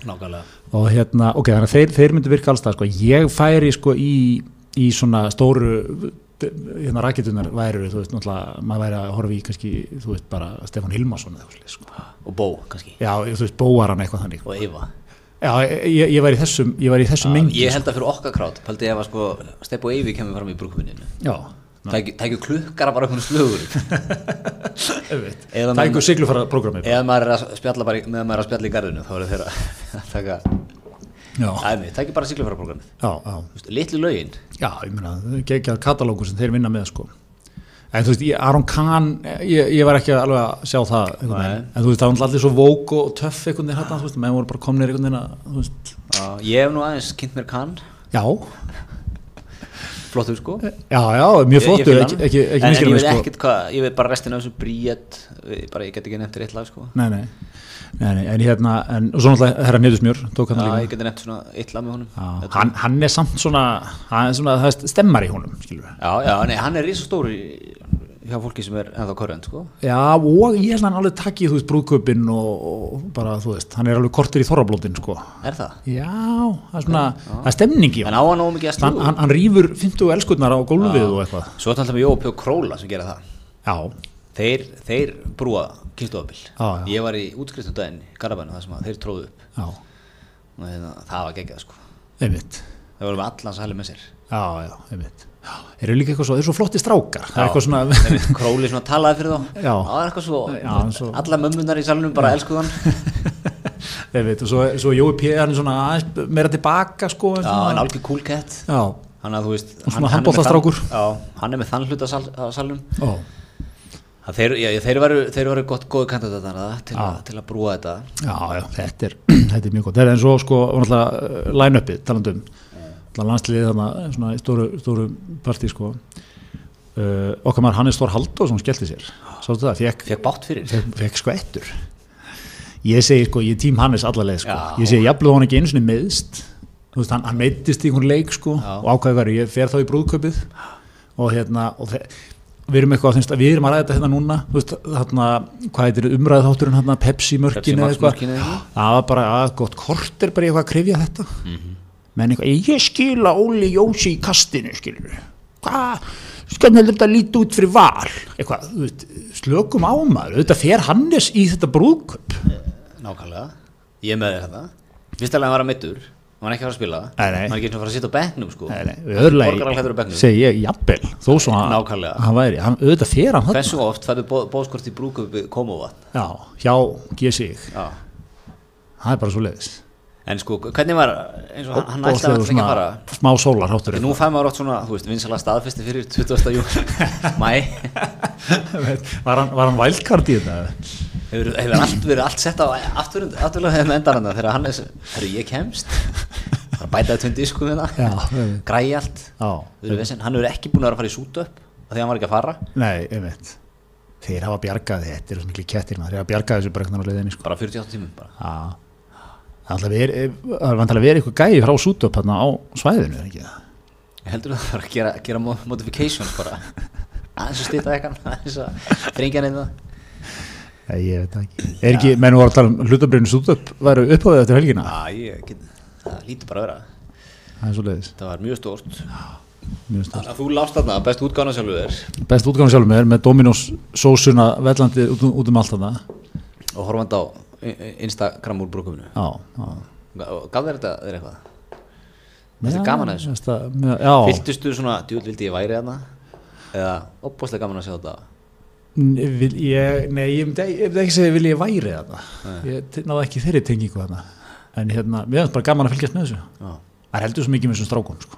S1: Nákvæmlega
S2: og hérna, ok, þannig að þeir, þeir myndu virka alls það, sko, ég færi, sko, í, í svona stóru hérna rakitunar væru, þú veist, náttúrulega maður væri að horfa í, kannski, þú veist, bara Stefán Hilmarsson eða eitthvað, svoleiðis, sko
S1: Og Bó, kannski
S2: Já, ég- þú veist, bóar hann eitthvað þannig.
S1: Og Eva
S2: Já, ég, ég var í þessum, ég var í þessum mengi.
S1: Ég held að fyrir okkar krát Paldi ef að sko Stepp og Eyvi kemur fram í brúkvinninu
S2: Já,
S1: Tækju klukkara bara upp hún slögur
S2: auðvitað.
S1: Eða
S2: Það er
S1: menn-
S2: einhver siglufara prógramið.
S1: Eða maður er að spjalla bara í- meðan maður er að spjalla í garðinu Þá eru þeir að taka
S2: Já,
S1: Æmi, tækju bara siglufæraprogramið
S2: já, já,
S1: Litlu lögin
S2: já, ég meina, geggjað katalógu sem þeir vinna með, sko. En þú veist, ég, Aron Kahn, ég, ég var ekki alveg að sjá það, einhvern veginn. En þú veist, það var allir svo vók og töff einhvern veginn hérna, þú veist, menn voru bara komnir einhvern veginn að, þú veist,
S1: Já, Ég hef nú aðeins kynnt mér kann
S2: já,
S1: Flottur sko
S2: já, já, Eh, mjög
S1: Ég- ég
S2: flottur,
S1: fíla
S2: ekki,
S1: hann.
S2: ekki, ekki
S1: en, en ég
S2: miskilum,
S1: veit
S2: sko.
S1: ekkert hvað, ég veit bara restina af þessu bríet ég bara, ég get ekki nefnt rétt lag sko
S2: Nei, nei, nei, nei, en hérna, en, og svo náttúrulega, herra Neyðusmjör, tók hann
S1: Já,
S2: líka.
S1: ég get nefnt svona eitt lag með honum
S2: Já,
S1: Þetta-
S2: hann, hann er samt svona, hann er svona það stemmar í honum, skilur við.
S1: já, já, nei, hann er risastóri hjá fólki sem er ennþá korrent sko
S2: Já, og ég held að hann alveg takkið, þú veist, brúðkaupin og, og bara, þú veist, hann er alveg kortir í þorrablótin, sko.
S1: er það?
S2: Já, það er svona, það er stemning í
S1: en
S2: honum.
S1: á hann ómikið að
S2: Hann,
S1: slúður
S2: hann, hann rýfur 50 elskurnar á gólfið og eitthvað.
S1: svo er þetta alltaf með Jópi og Króla sem gera það
S2: Já,
S1: þeir, þeir brúa kynstofabil
S2: Já, já.
S1: ég var í útskriftum daginn í Garabænu það sem að þeir tróðu upp
S2: já,
S1: og hérna, það var geggjað sko
S2: einmitt.
S1: þeir voru með allan sæli með sér
S2: Já, já, einmitt. Já, eru líka eitthvað svo, þeir eru svo flotti strákar. Það er eitthvað svona,
S1: Einmitt, Króli svona talaði fyrir þá
S2: Já.
S1: það var eitthvað svo,
S2: Já, hann svo-
S1: alla mömmunar í salunum bara elskuð hann
S2: einmitt, og svo, svo Jói P. hann er svona aðeins meira tilbaka, sko.
S1: Já,
S2: svona.
S1: en algjör cool cat
S2: Já,
S1: Þannig að þú veist
S2: Og svona
S1: er með
S2: handboltastrákur.
S1: þann- Já, hann er með þann hluta sal, af salnum
S2: ó,
S1: Það Þeir, já, þeir varu, þeir varu gott, góðu kandidatar að það til, að,
S2: Já.
S1: til að brúa þetta
S2: Já, já, þetta er, þetta er mjög gott. Þetta er eins og sko, var náttúrulega uh, line-upið, talandum. Náttúrulega landsliðið þarna, svona í stóru, stóru partí, sko. Uh, okkar maður Hannes Stór Halldór sem skellti sér. Sáttu það, fekk,
S1: Fekk bátt fyrir
S2: fekk, fekk sko ettur. Ég segi sko, ég er tím Hannes allarleið, sko.
S1: Já.
S2: Ég segi, jafnlega hann ekki einu sinni meðst. Þú veist, hann, hann meittist í einhvern leik, sko,
S1: Já.
S2: og ákvæði hverju, ég fer þá í brúðkaupið og hérna, og þe- við erum eitthvað, þinnst, við erum að ræða þetta hérna núna, þú veist, þarna, hvað heitir umræðþátturinn hérna,
S1: Pepsi
S2: Pepsi-mörkinu
S1: Max
S2: eða eitthvað,
S1: mörkinu eða eitthvað.
S2: það var bara að gott kort er bara í eitthvað að krifja þetta
S1: Mhm.
S2: menn eitthvað, ég skila Óli Jósi í kastinu skilur hvað, hvernig heldur þetta líti út fyrir val eitthvað, þú veist, slökum á maður þetta fer Hannes í þetta brúðköp
S1: Nákvæmlega Ég er með þér þetta Fyrst alveg hann var að mittur Hann var ekki að fara að spila
S2: Nei,
S1: Hann
S2: nei.
S1: er ekki einu sinni að fara að sitja á bekknum sko Borgaralhættur á
S2: öðurlega,
S1: bekknum
S2: segi ég, jafnvel þó svo hann,
S1: Nákvæmlega.
S2: hann væri, hann, auðvitað fer hann þarna,
S1: Hversu oft fættu bóðskort í brúköpi komovatn
S2: já, hjá G.S.I.
S1: Já
S2: það er bara svo leiðis
S1: En sko, hvernig var eins og hann, hann ætlaði alltaf ekki að fara
S2: smá sólar háttur
S1: Nú fæði maður átt svona, þú veist, vinsalega staðfesti fyrir 20. júl Mæ
S2: var hann, var hann vælkart í þetta?
S1: hefur, hefur allt verið allt sett á afturlega hefðan endan hann þegar Hannes, herru ég kemst bara bætaði tveim diskum
S2: Já,
S1: hérna
S2: einmitt.
S1: græi allt
S2: Já,
S1: Við erum vesen, hann hefur ekki búin að vera að fara í sútöpp af því að hann var ekki að fara
S2: nei, einmitt þeir hafa bjargað þetta eru svo miklu kettir maður, þeir hafa bjargað þessu bara einhvern veginn á leiðinni sko.
S1: bara 48 tímum bara.
S2: Já. það er verið- eh, það er vantilega verið eitthvað gæði frá sútöp hérna á svæðinu er ekki? það?
S1: heldur það bara að gera, gera mo- modifications bara aðeins að stýta ekkan aðeins að fringja hann það
S2: Nei, ég veit það ekki, er ekki, menn voru að tala um hlutabrinu sútöp væru upphóðið eftir helgina
S1: Já, ég get, það lítur bara að vera
S2: það er svo leiðis,
S1: það var mjög stórt
S2: mjög stöð
S1: Þannig að þú lást þarna, best útgána sjálfur þér
S2: best útgáðan sjálfur með, með Dominos sósuna vellandi út, um- út um allt þarna
S1: og horfandi á i- i- Instagram úr brúkuminu
S2: já, já
S1: gaf þér þetta þér eitthvað? Þetta er gaman að þessu
S2: þessu já,
S1: Fylgtistu svona, djúl vildi ég væri þarna eða opbóðslega gaman að sjá þetta
S2: N- vil, ég, nei, ég myndi e, ég myndi ekki segja vil ég væri þarna ég te- náði ekki þeirri tengingu þarna en hérna, mér finnst bara gaman að fylgjast með þessu
S1: Já.
S2: það er heldur svo mikið með þessum strákum sko.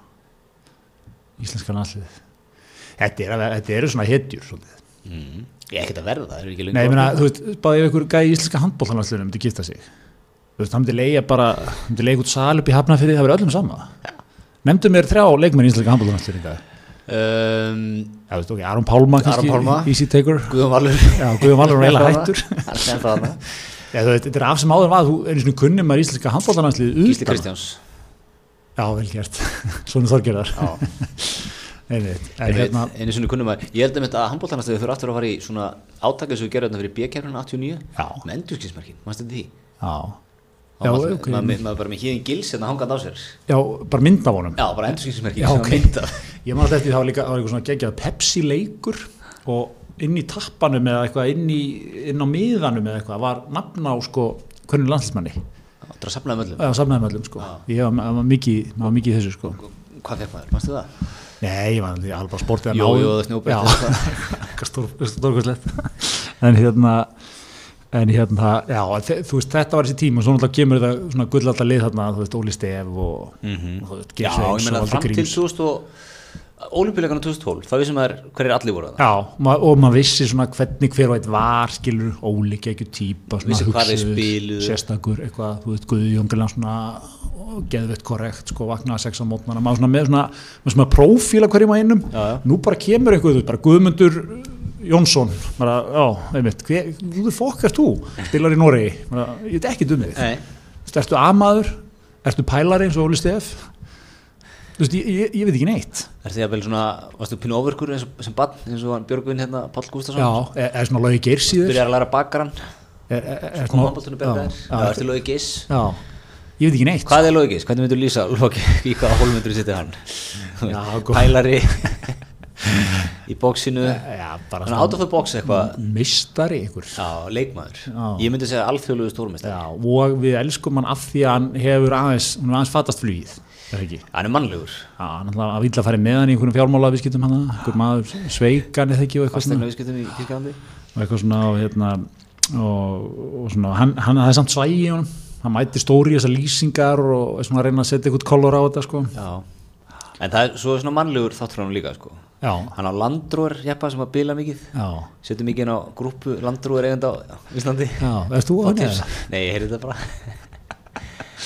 S2: íslenska landslið þetta, er, að- þetta eru svona hetjur svolítið.
S1: mm. ég er ekkert að verða það, það er ekki lengur
S2: nei, ég meina, þú veist, bara ef ykkur gæði í íslenska handbóltanlandsliðinu myndi gifta sig þú veist, hann myndi leiga bara, hann myndi leiga út sal upp í hafnafyrði, það verður öllum sama nefndu mér þrjá leikmenn í íslenska handbóltanlandsliðinu
S1: um,
S2: Já, veist, okay, Aron Pálma, kannski,
S1: Aron Pálma.
S2: Easy Taker
S1: Guðjón Valur
S2: Já, Guðjón Valur er eiginlega hættur.
S1: Hann er ennþá þarna.
S2: Já, þú veit, þetta er af sem áður var, þú einu svona kunnum maður íslenska handbóltanlandslið
S1: Gísli Kristjáns
S2: Já, vel gert, svona þorgjörðar
S1: Já.
S2: Nei, veit, en
S1: Ég veit,
S2: hérna
S1: einu sinni kunnum að ég held um þetta að handbóltanastöðu fyrir aftur að fara í svona átakið sem við gerðum þetta fyrir B-kerfinu 89
S2: Já.
S1: með endurskilsmerkin, mannstu þetta því
S2: Já,
S1: Já,
S2: Já,
S1: maður,
S2: ok.
S1: maður, maður, maður bara með híðin gils hérna hangandi á sér Já,
S2: já bara mynd af honum
S1: bara endurskilsmerkin
S2: Já,
S1: sem
S2: ok.
S1: var mynda
S2: Ég maður eftir því það var líka, það var eitthvað svona geggjað Pepsi leikur og inn í tappanum eða eitthvað inn, í, inn á miðanum eða eitthvað var nafna á sko hvernig landsmanni
S1: Það er að safna um öllum
S2: eða samnaði með öllum sko ég var, maður var mikið, maður var mikið í þessu sko
S1: Hvað fekk maður, mannstu það?
S2: Nei, ég var alveg alveg sportið
S1: Jó, jó, það er snjóbretti eða
S2: eitthvað stórkvæslegt en hérna en hérna, já, þe- þú veist, þetta var þessi tíma og svo náttúrulega kemur þetta svona gullallta lið þarna, þú veist, Óli Stef og, og þú
S1: Mhm. Já,
S2: veist, Geir
S1: ég
S2: Sveins og
S1: meina
S2: Valdi
S1: fram til
S2: Gríms
S1: 2000 og Ólimpíuleikana 2012, það vissum maður hverjir allir voru það
S2: Já, og ma- og maður vissi svona hvernig hver og eitt var, skilur, ólík ekki típa, svona
S1: Vissi hvað þeir
S2: hugsuður,
S1: spiluðu.
S2: sérstakur, eitthvað, þú veit, Guðjóngilna svona og geðveitt korrekt, sko, vaknaði sex á mótnana, maður svona með svona, með svona prófíla hverjum að innum,
S1: Já, já.
S2: nú bara kemur eitthvað, þú veit, bara Guðmundur Jónsson, bara, já, einmitt, hver, þú veit, fokk ert þú, spilar í Noregi, bara, ég veit ekki dumið,
S1: Nei,
S2: þú veist, ertu amaður, ertu pælari eins og Óli Stef, þú veist, ég, ég, ég veit ekki neitt.
S1: er því að vel svona, varstu pínu ofurkur eins og sem bann, eins og hann Björgvin hérna, Páll Gústafsson
S2: Já, e- eða svona logi geirsýður
S1: Byrjar að læra bakaran,
S2: er, er, er,
S1: kom handbóltunum bergaðir
S2: já,
S1: Það
S2: já,
S1: ertu lögi giss
S2: já, ég veit ekki neitt
S1: Hvað er logis? Hvernig myndur lýsa logis? Í hvaða hólf myndur setja hann?
S2: Já, góð.
S1: Pælari í bóksinu
S2: sko. já, bara
S1: Þannig out of the box eitthvað
S2: mistari ykkur já.
S1: Já, leikmaður
S2: Já.
S1: Ég myndi segja alþjóðlegu stórmestari
S2: og við elskum hann af því að hann hefur aðeins, hún er aðeins fattast flugið er ekki,
S1: Hann er mannlegur
S2: já, hann ætlaði að vilja að fara með hann í einhvern fjármála við skiptum hann einhver maður sveikan eða ekki og eitthvað svona,
S1: Fastegna viðskiptum í Tískalandi
S2: og eitthvað svona og hérna og, og svona, hann, hann það er samt svægi í honum hann mæti stóri í þessar lýsingar og er svona að reyna að setja eitthvað kolor á þetta sko.
S1: Já En það er svo er svona mannlegur þáttur hann líka sko
S2: já,
S1: Hann á landróar, jeppa sem að bila mikið
S2: já,
S1: Setjum mikið inn á grúpu landróar eigenda á Íslandi
S2: já, erst þú á hann
S1: Pottir.
S2: eða?
S1: Nei, ég heyrði þetta bara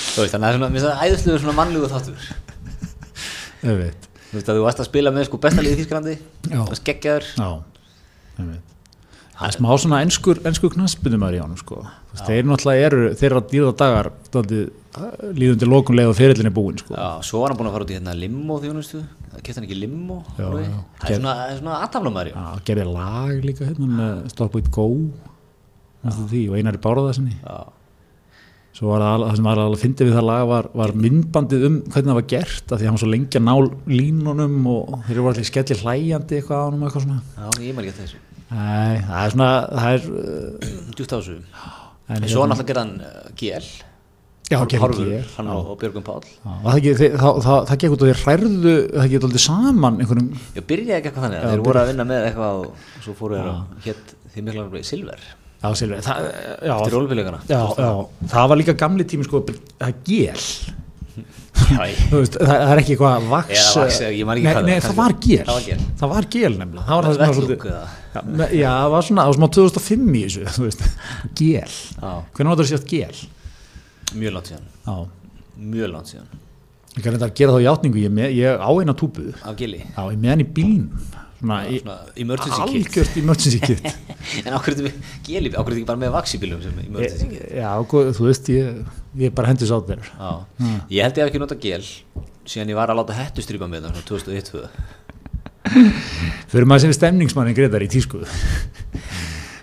S1: Þú veist, þannig að það er svona, mér finnst það æðislegur svona mannlegur þáttur
S2: Auðvitað.
S1: Þú veist að þú varst að spila með sko besta liðið í Þýskalandi
S2: Já.
S1: og skeggjaður
S2: Já, ég veit. Það er smá svona enskur, enskur knaspinumar í honum sko. Þú veist, Þeir náttúrulega eru, þeirra dýra dagar eh, daldið, líðundi lokunlega og fyrirlinni búin sko.
S1: Já, svo var hann búinn að fara út í hérna limo þjónustu Það kefti hann ekki limo
S2: Já,
S1: alveg.
S2: já.
S1: Það er svona, það er svona aðtaflamæri
S2: Já, gerði lag líka hérna með Stop It Go manstu því, og einari báraðarsinni.
S1: Já,
S2: Svo var það, al- það sem var alveg fyndið við það lag var, var myndbandið um hvernig það var gert af því að hann var svo lengi að ná línunum og þeir eru allir skellir hlæjandi eitthvað á hann og eitthvað svona.
S1: já, ég maður ekki eftir þessu
S2: Æ, það er svona, það er... uh,
S1: Djúpt á þessu
S2: en
S1: En svo
S2: hérna-
S1: náttúrulega gerði hann uh, GL
S2: Já, gerði
S1: Hárfur,
S2: GL,
S1: Hann og, og Björgum Pál
S2: Já, og það, ekki, það, það, það, það gekk út og þeir hræðu það gekk alltaf saman einhverjum
S1: Ég byrjaði ekki eitthvað þannig
S2: Já,
S1: Þeir voru að vinna með eitthvað og svo fóru þeir að hétt Þið mikla alveg Silver
S2: já, Silvi, það, já,
S1: Eftir ólfélagarna
S2: já, já, það var líka gamli tími sko, það gél
S1: Já,
S2: Þú veist, það, það er ekki eitthvað vaks
S1: Eða vax, eða ég man ekki
S2: Nei,
S1: hvað það
S2: nei,
S1: var, kannski.
S2: það var gel
S1: Það var gel.
S2: það var gel nefnilega það var það sem var
S1: Vettlúk
S2: svolítið-
S1: eða?
S2: Já, me- já, það var svona, það var smá 2005 í þessu þú veist. gel,
S1: Já.
S2: hvernig var það að sétt gel
S1: mjög langt síðan
S2: já,
S1: mjög langt síðan
S2: ég kann þetta að gera þá játningu ég, er með, ég á eina túbu
S1: af gili
S2: já, ég með hann í bílnum svona, í-
S1: svona emergency kit
S2: algjört emergency kit
S1: en ákveður þetta með gili ákveður þetta ekki bara með vaxibílum sem emergency kit
S2: já, góð, þú veist ég, ég bara hendis á þér
S1: já. ég held ég hef ekki notað gel síðan ég var að láta hættu strípa með það svona 2001
S2: fyrir maður sem er stemningsmannin greitar í tísku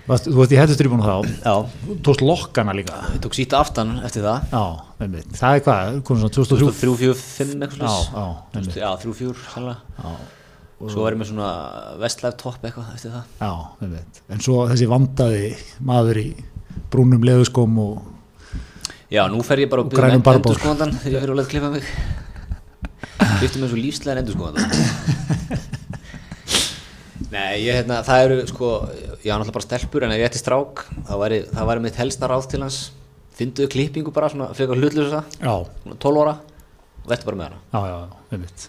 S2: Varst, þú veist ég hættist drifun þá
S1: já
S2: tókst lokkana líka
S1: ég tók síta aftan eftir það
S2: já, einmitt. það er hvað, komið svona 2003
S1: 3, 4, 5 eitthvað
S2: já,
S1: slags
S2: já, einmitt.
S1: já, 3, 4 sannlega
S2: já,
S1: svo var ég með svona vestlæf topp eitthvað eftir það
S2: já einmitt. en svo þessi vandaði maður í brúnum leðuskóm og
S1: já, nú fer ég bara að
S2: grænum barbár.
S1: endurskoðandan þegar ég fer að leta klippa mig Klipptu mig svo lífslegan endurskoðandan Nei, ég, hérna, það eru sko, ég hafa náttúrulega bara stelpur en ef ég ætti strák, þá væri, það væri mitt helsta ráð til hans, fynduðu klippingu bara svona, frekar hlutlösa,
S2: já,
S1: svona 12 ára og verður bara með hana
S2: já, já, einmitt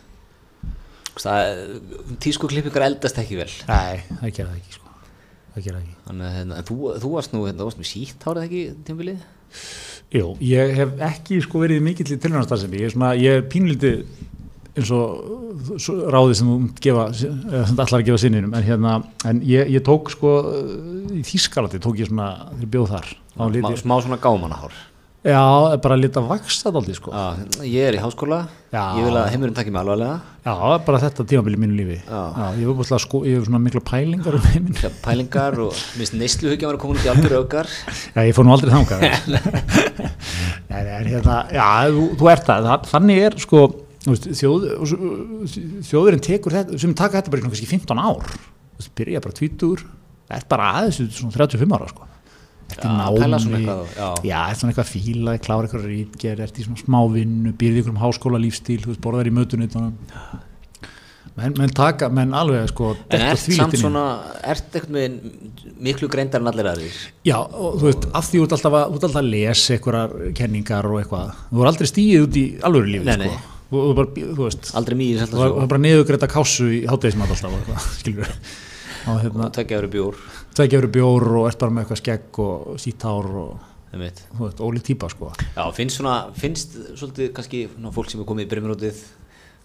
S1: það, tísku klippingar eldast ekki vel
S2: nei, það gera það ekki sko. það gera það ekki
S1: Þannig, að, hérna, en þú, þú varst nú, hérna, þú varst með sítt hárið ekki tímabilið?
S2: Jú, ég hef ekki sko verið mikill í tilhörnastarsemi, ég er svona, ég er pínlítið eins og svo- ráðið sem þú munt gefa, eða sem þú ætlar að gefa sinninum, en hérna, en ég, ég tók sko, í Þískalandi tók ég svona, þegar ég bjóð þar, þá
S1: Má,
S2: lítið,
S1: smá svona gámanahár.
S2: já, bara lítið að vaksa þáldið sko,
S1: Já, Ah, ég er í háskóla,
S2: Já.
S1: ég vil að heimurinn takki mig alvarlega.
S2: já, bara þetta tímabili mínu lífi,
S1: Já.
S2: ég hef bara sko, ég hef svona mikla pælingar um heiminn,
S1: Það pælingar og minnst neysluhugja var að koma út í algjör augar.
S2: já, ég fór nú aldrei þangað, en, en, en hérna, já, þú, þú ert það, það- þannig er sko, þú veist, þjóð, þjóðurinn tekur þetta, sem taka þetta bara í svona kannski 15 ár þú veist, byrja bara 20 það er bara aðeins í svona 35 ára sko. Þetta
S1: Já,
S2: er
S1: pæla svona
S2: námi,
S1: eitthvað, já.
S2: já, þetta er svona eitthvað fíla, klára eitthvað rítgerð, ert í svona smávinnu, býrði ykkur um háskóla lífstíl, þú veist, borðar í mötunutunum. Menn, menn taka, menn alveg sko,
S1: En
S2: detta
S1: ert
S2: þvílíkt
S1: samt
S2: inn í-
S1: svona, ert ekkert með miklu greindar en allir aðrir?
S2: Já, og þú veist, af því út alltaf að, út alltaf að lesa einhverjar kenningar og eitthvað. Þú voru aldrei stíið út í alvöru lífið,
S1: Nei, nei.
S2: sko. Þú, þú, bara, þú veist,
S1: Aldrei mýðis
S2: þú
S1: alltaf
S2: var, þú
S1: svo,
S2: var bara niðurgreita kásu í hátæðismat alltaf og eitthvað, skilur við. Og hérna,
S1: tökja verið bjór,
S2: tvekja verið bjór og ert bara með eitthvað skegg og sítár og,
S1: það mitt.
S2: þú veist, ólík típa, sko.
S1: Já, finnst svona, finnst svolítið kannski ná, fólk sem er komið í brimrótið,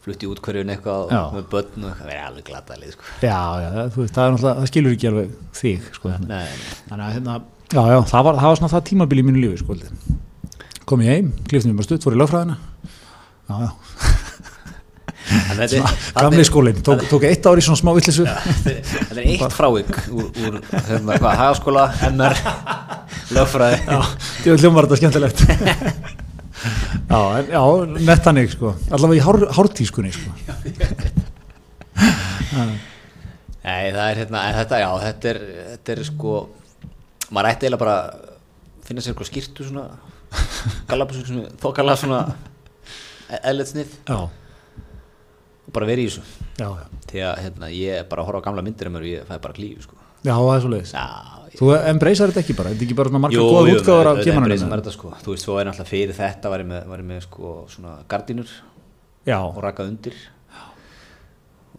S1: flutti í útkverjun eitthvað,
S2: Já.
S1: og með börn og eitthvað, verið alveg glatalið, sko.
S2: Já, já, þú veist, það er náttúrulega, það skilur ekki alveg þig, sko. Hérna.
S1: Nei, nei.
S2: Þannig að, hérna, já, já, það var, það var svona það tímabili í mínu lífi, sko. held ég. Kom ég heim, kliftum við bara stutt, fór í lögfræðina. Já, já,
S1: En þetta er-
S2: gamli skólinn, tók, tók eitt ár í svona smá villisu
S1: Þetta er eitt frávik úr, úr hérna, hvað, hagaskóla, MR, lögfræði.
S2: Ég vil hljóma þetta skemmtilegt Já, en, já nett hannig sko Allavega í hár, hártískunni sko
S1: Nei, það er hérna, en þetta, já, þetta er, þetta er sko, maður ætti eiginlega bara að finna sér eitthvað skýrtu svona, galabusur svona, þokkala svona, eðletsnið,
S2: Já,
S1: og bara verið í þessu.
S2: já, já
S1: Því að, hérna, ég er bara að horfa á gamla myndir um mér og ég fæ bara klífi, sko.
S2: Já, það er svo leiðis
S1: Já, ég-
S2: Þú embracear þetta ekki bara, þetta er ekki bara svona margar
S1: Jú,
S2: góða
S1: jú,
S2: útgáður af
S1: auðvitað embracear
S2: gemananum
S1: maður þetta, sko. Þú veist, þú væri alltaf fyrir þetta, væri með, væri með sko, svona gardínur
S2: Já,
S1: og rakað undir,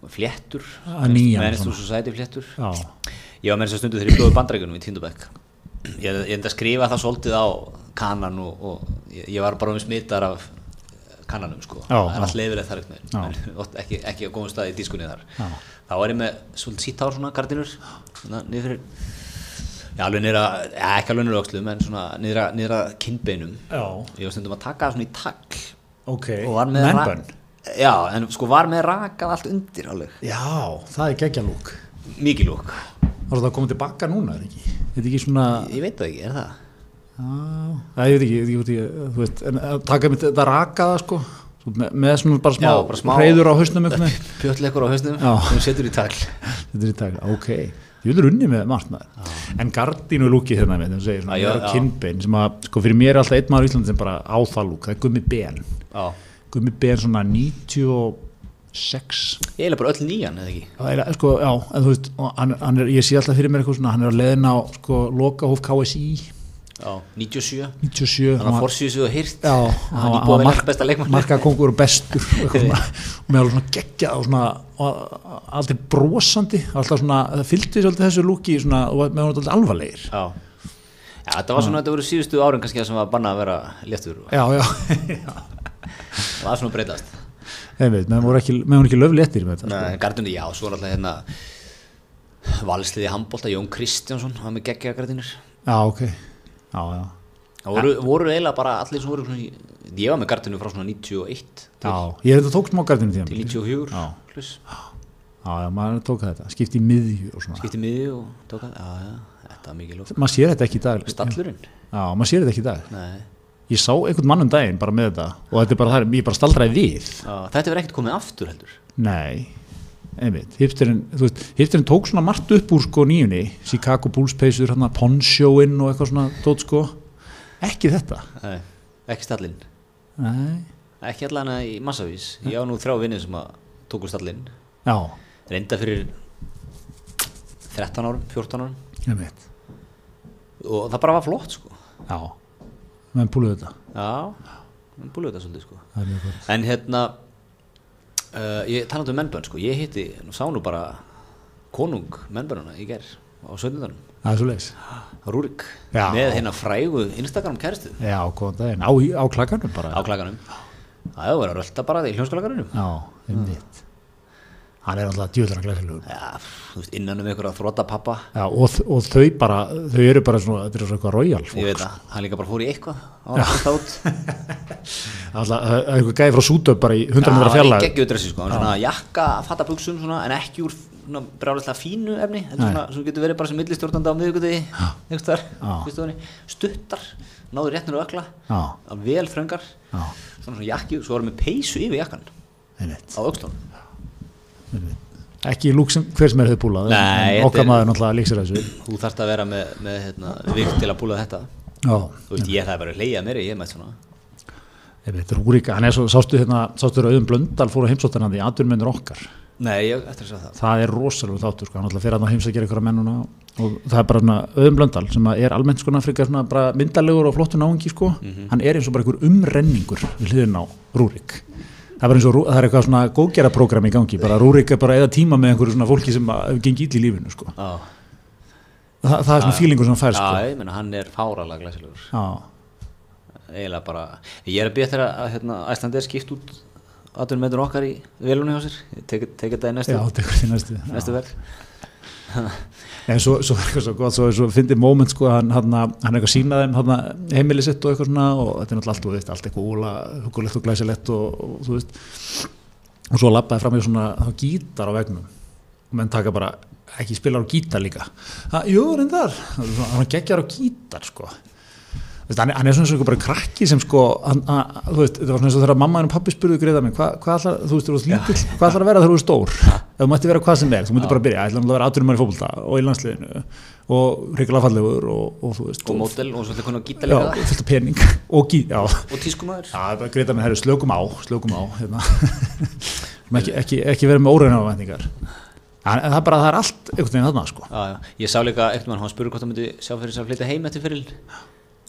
S1: og fléttur,
S2: Að nýjan
S1: mennist þú
S2: svona.
S1: svo sæti fléttur.
S2: já,
S1: Ég var með þess að stundu þegar ég bjóði bandrækjunum í Tindabæk Ég ég reyndi að skrifa það svolítið á kanan og, og ég, ég var bara um smittar af kananum sko
S2: Já,
S1: Það
S2: já.
S1: er allt leifilegt þar einhvern
S2: Já.
S1: veginn En oft ekki, ekki á góðum staði í dískunni þar
S2: Já.
S1: Þá var ég með svolítið sítár svona gardinur svona, niður fyrir Já, alveg niður að, ja, ekki alveg niður að öxlum en svona niður að, niður að kinnbeinum
S2: já,
S1: Ég var stundum að taka það svona í takl
S2: ok
S1: og var með ra-
S2: Mennbönn
S1: Já, en sko var með rakað allt undir alveg
S2: Já, það er geggja lúk
S1: Mikið lúk
S2: Það er það að koma tilbaka núna, er ekki? Þetta er ekki svona
S1: Ég veit það ekki, er það?
S2: Já, ég veit ekki, ég veit ekki út í, þú veist, en að taka mitt þetta rakaða sko, svo með, með svona bara smá,
S1: Já, bara smá-
S2: hreyður á hausnum einhvern veginn,
S1: Pjötleikur á hausnum
S2: Já.
S1: sem setur í tagl
S2: þetta er í dag, ok, ég vil runni með margt maður, en gardínu lúkið hérna með þeim segir, svona,
S1: Já, já,
S2: já,
S1: já.
S2: kinnbein sem að, sko fyrir mér er alltaf einn maður í Íslandi sem bara á það lúk, það er gummi ben,
S1: Já.
S2: gummi ben svona 96,
S1: Ég er bara öll nýjan eða ekki
S2: það er, sko, já, en þú veist, og hann, hann er, ég sé alltaf fyrir mér eitthvað svona, hann er að leðina á, sko, loka hóf KSI,
S1: Já, 97
S2: 97
S1: Þannig að
S2: hann var-
S1: Forsíus hefur hýrt
S2: Já,
S1: hann er búið að velja besta leikmann
S2: markakongur og bestur og eitthvað svona, og með alveg svona geggjað og svona og aldrei brosandi alltaf svona, það fylgdi svolítið þessu lúki svona, og með hún alltaf alvarlegir
S1: Já, já þetta var svona, þetta voru síðustu árin kannski sem var bannað að vera léttur og
S2: Já, já, já.
S1: það er svona að breytast
S2: einmitt, menn voru ekki, menn voru ekki löfléttir með þetta sko.
S1: Nei, Gardinu, já, svo er alltaf hérna valsliði handbólta, Jón Kristjánsson hann með geggjaða gardinir
S2: Já, ok, já, já
S1: það voru, voru eiginlega bara allir sem voru svona, í- ég var með Gardinu frá svona 91
S2: Já, ég er þetta tók smá gardinu tíma
S1: til
S2: Já,
S1: 94
S2: Já.
S1: plus,
S2: já, maður tók þetta, skipti í miðju og svona
S1: skipti miði og tóka já, já, þetta var mikið lók
S2: Maður sér þetta ekki í dag
S1: Stallurinn,
S2: Já, maður sér þetta ekki í dag
S1: nei
S2: Ég sá einhvern mann um daginn bara með þetta og þetta er bara það, ég bara staldraði við
S1: Já, þetta verður ekkert komið aftur heldur
S2: Nei, einmitt hipsterinn, þú veist, hipsterinn tók svona margt upp úr sko nýjunni, Chicago Bulls peysur hann að Ponchoinn og eitthvað svona tótt sko, ekki þetta
S1: Nei, ekki stallinn
S2: Nei,
S1: Ekki allan að í massavís Ég á nú þrjá vinnið sem að tóku stallinn
S2: já,
S1: Reynda fyrir 13 árum, 14 árum
S2: einmitt
S1: Og það bara var flott sko
S2: já, menn búluðu þetta
S1: Já, hann búið þetta svolítið sko
S2: það er mjög gott
S1: En hérna uh, Ég talaði um mennbönn sko Ég hitti, nú sá nú bara Konung mennbönnuna í ger Á 17.
S2: það er svo leiðis,
S1: Rúrik
S2: Já.
S1: Með hérna frægu Instagram kæristu
S2: já, góðan daginn á, á klakanum bara,
S1: Á klaganum Það hefur verið að rölda bara í hljómskalaganum
S2: já, einmitt Mm. hann er alltaf djúðlega glæsilegur
S1: Já, þú veist, innan um einhverja þróta pappa
S2: já, og, þ- og þau bara, þau eru bara svona, þetta er svona eitthvað royal sko.
S1: Ég veit það, hann líka bara fór í eitthvað á hann fyrst át
S2: alltaf, eitthvað gæði frá sútöp bara í 100 metra
S1: Það var
S2: fjarlæg
S1: ekki öðressi sko, hann var svona jakka fata buksum svona, en ekki úr svona brjálæslega fínu efni heldur
S2: Nei.
S1: svona, sem getur verið bara sem millistjórnanda á miðvíkuti einhverstaðar,
S2: Já.
S1: fyrstofunni stuttar, náður réttnur og ökla
S2: já,
S1: að vel fröngar
S2: já,
S1: svona svona jakki, svo varum við peysu yfir jakkan á
S2: einmitt
S1: aukstónum
S2: ekki lúk sem hver sem er hefur búlað
S1: Nei,
S2: en
S1: þetta
S2: okkar
S1: er-
S2: maður náttúrulega líksir þessu
S1: þú þarft að vera með, með hérna, virk til að búla þetta
S2: já,
S1: þú veist, ég það bara leiða mér ég er mætt svona
S2: einmitt, Rúrik, hann er svo, sástu hérna sástu Rauðum Blöndal fór að heimsóttan hann því atvinnmennur okkar,
S1: Nei, ég eftir að segja það
S2: það er rosalega þáttur sko, hann alltaf fyrir að heimsækja ykkur að mennuna og það er bara svona Rauðum Blöndal sem að er almennt sko frekar svona bara myndalegur og flottur náungi sko,
S1: Mhm.
S2: hann er eins og bara einhver umrenningur við hliðin á Rúrik það er bara eins og Rú- það er eitthvað svona góðgerðaprogram í gangi, bara Rúrik er bara eða tíma með einhverju svona fólki sem að hefur gengið illa í lífinu sko.
S1: Já,
S2: Þa, það er svona fílingur sem hann fær sko.
S1: Já, ég meina, hann er fáralega glæsilegur
S2: Já.
S1: eiginlega bara, ég er að býja þeirra að hérna, Æslandi er skipt út aðtunum meður okkar í velunni hjá sér ég tek, tek þetta í næstu,
S2: Já, tekur því næstu.
S1: næstu verð
S2: Nei, svo, svo er eitthvað svo gott, svo, svo fyndi moment sko, hann, hann, hann eitthvað sína þeim hann, heimili sitt og eitthvað svona og þetta er náttúrulega allt, þú veist, allt eitthvað úla, hugulegt og glæsilegt og, og þú veist, og svo lappaði fram í svona, þá gítar á vegnum og menn taka bara, ekki spilar á gítar líka. Ha, jú, reyndar, Það er svona- hann geggjar á gítar sko. Þú Veist, hann, er- hann er svona eins og einhver bara krakki sem sko, hann, hann, þú veist, þetta var svona eins og þegar mamma henni og pappi spurðu greiða mig, hvað hva ætlar, þú veist, þú veist, lítill, hvað ætlar að vera þegar þú er stór? Ef þú mætti vera hvað sem er, þú mætti bara byrja, ég ætla náttúrulega að vera aðturum í fótbolta og í landsliðinu og reykjala fallegur og, og þú veist,
S1: og mótel og svolítið konar gíta
S2: já,
S1: líka
S2: fullt af pening og gíð, já.
S1: og tískumæður
S2: Já, það er bara greiða mig, herru, slökum á, slökum á, hérna. Sem ekki, ekki, ekki vera með óreina vendingar. Það er bara, það er allt einhvern veginn þarna, sko.
S1: já, já. ég sá líka einhvern mann, hann spurði hvort hann myndi sjá fyrir sér að flytja heim eftir fyrir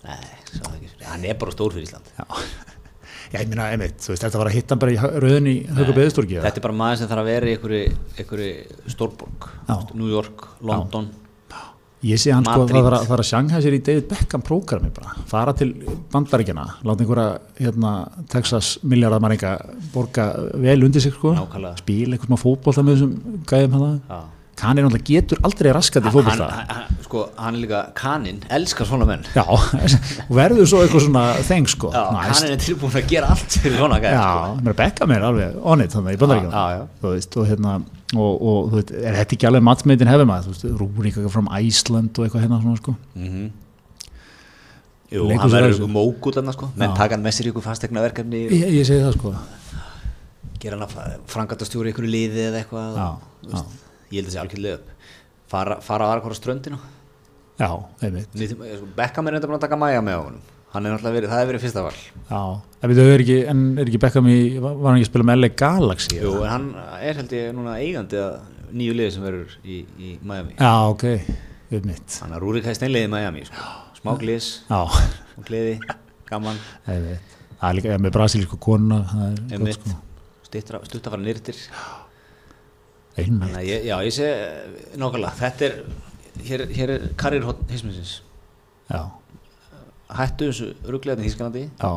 S1: nei, sá það ekki fyrir, hann er bara stór fyrir Ísland
S2: Já, já ég meina, einmitt, þú veist, þetta var að hitta hann bara í rauðin í Haukabeðistorgi.
S1: þetta er bara maður sem þarf að vera í einhverju, einhverju stórborg,
S2: Já.
S1: New York, London
S2: Ég sé hann sko,
S1: Madrid.
S2: það þarf að, það þarf að sjanghæða sér í David Beckham prógrami bara, fara til bandaríkjana, láta einhverja hérna, Texas miljardamæringa borga vel undir sig sko,
S1: Nákvæmlega.
S2: spila einhvern veginn fótbolta með þessum gæðum hana.
S1: já.
S2: Kanir náttúrulega getur aldrei raskat í
S1: Hann, hann,
S2: fótbolta.
S1: hann, sko, hann er líka kaninn, elskar svona menn
S2: Já, og verður svo eitthvað svona þeng sko.
S1: já,
S2: Nice.
S1: kaninn er tilbúin að gera allt fyrir svona gæja, sko.
S2: Já, mér bekka mér alveg on it þannig í bandaríkjum
S1: Já, já, já.
S2: þú veist, og hérna og, og þú veist, er þetta ekki alveg matsmeitin hefði maður, þú veist, Rúrik eitthvað frá Ísland og eitthvað hérna svona sko
S1: Jú,
S2: Leikur
S1: hann
S2: sér að
S1: verður
S2: þessu.
S1: ykkur mókull hann sko, menn taka hann með sér í ykkur fastegna verkefni
S2: ég, ég segi það sko
S1: gera hann að frangatastjóri ykkur liði eða eitthvað
S2: Já,
S1: þú veist, ég held að sé algjörlega upp fara, fara á aðra hvora ströndinu
S2: Já, einmitt,
S1: Nýtum, sko, Beckham er reynda búin að taka mæja með honum hann er náttúrulega verið, það hefur verið fyrsta val
S2: já en við þau er ekki, en er ekki bekka mér var var hann ekki að spila með LA Galaxy
S1: Jú, en hann er held ég núna eigandi að nýju liði sem verður í, í Miami
S2: Já, ok, einmitt
S1: hann er Rúrik hæði steinliði í Miami sko. smá glís
S2: Já,
S1: og gleði, gaman,
S2: ég veit. það er líka með brasilísku konuna, það er gott
S1: einmitt,
S2: sko.
S1: stuttar að fara nýrtir.
S2: Einmitt.
S1: Þannig að ég, já, ég sé eh, nákvæmlega, þetta er, hér, hér er karriérhótt hisminsins.
S2: Já,
S1: Hættu þessu rugglegaðin í Þískanandi,
S2: já,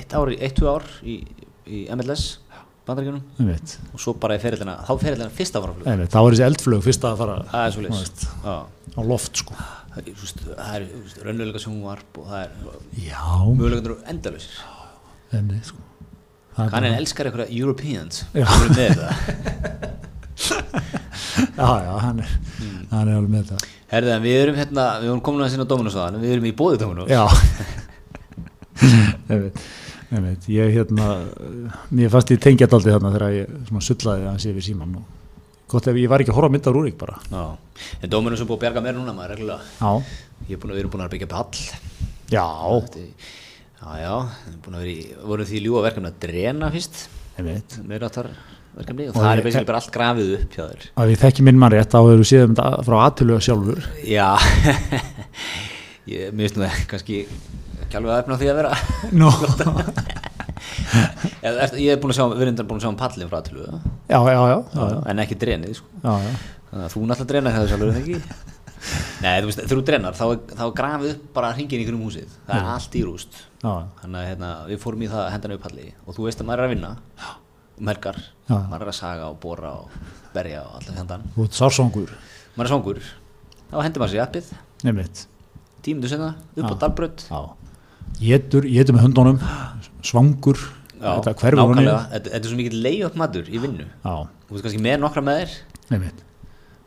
S1: eitt ár, í- eitt, tvö ár í, í MLS, bandaríkjunum,
S2: einmitt.
S1: og svo bara í ferillina, þá ferillina fyrsta faraflug.
S2: einmitt. Það var þessi eldflög fyrst að fara
S1: Það er svo
S2: Þú
S1: leys.
S2: veist. á loft sko.
S1: Það er, þú veist, það er, þú veist, raunveruleika sjónvarp og það er,
S2: Já,
S1: mögulegandur eru endalausir.
S2: einmitt sko. Það er
S1: Kannin elskar einhverja Europeans,
S2: Já.
S1: það eru með þetta.
S2: Já, já, hann er, hann er alveg með það.
S1: Herðið, en við erum hérna, við vorum komin að sinna Dominos á þannig, við erum í bóði Dominos.
S2: Já einmitt, einmitt. Ég hérna Mér fannst ég tengja daldi þarna þegar ég svona sullaði að sé við síman og gott ef ég var ekki að horfa á mynd á Rúrik bara
S1: Já, en Dominus er búið að bjarga mér núna maður reglulega
S2: Já,
S1: Ég er búin að vera búin að byggja upp hall
S2: já,
S1: Þetta er- Já, já, við erum búin að vera í, vorum því ljúa verkefni að drena fyrst
S2: einmitt
S1: meiráttar verkefni og það er basically bara allt grafið upp hjá þér
S2: að við þekki minn mann rétt þá hefur við séð um þetta frá aðtölu sjálfur
S1: Já, ég mér finnst nú það kannski ekki alveg að efna á því að vera
S2: Nú,
S1: Eða, ertu- Ég er búin að sjá, við erum reyndar búin að sjá um pallin frá til við
S2: já, já, já, já,
S1: en ekki drenið sko.
S2: já, já.
S1: Þannig að þú náttúrulega drenar það sjálfur er það ekki Nei, þú veist, þegar þú drenar þá, er- þá er grafið upp bara hringin í kringum húsið það er allt í rúst
S2: já.
S1: þannig að hérna, við fórum í það að henda hendan upp halli og þú veist að maður er að vinna um helgar,
S2: Já.
S1: maður er að saga og bora og berja og alltaf hendan
S2: Þú ert sársóngur
S1: maður er svangur, þá hendur maður sér í appið
S2: Einmitt
S1: tímundu senna, upp á dalbrödd
S2: Já Étur, étur með hundunum Svangur Þetta hverfur honum
S1: nákvæmlega, þetta, þetta er svo mikið leið upp matur í vinnu
S2: Já,
S1: þú veist kannski með nokkra með þér
S2: einmitt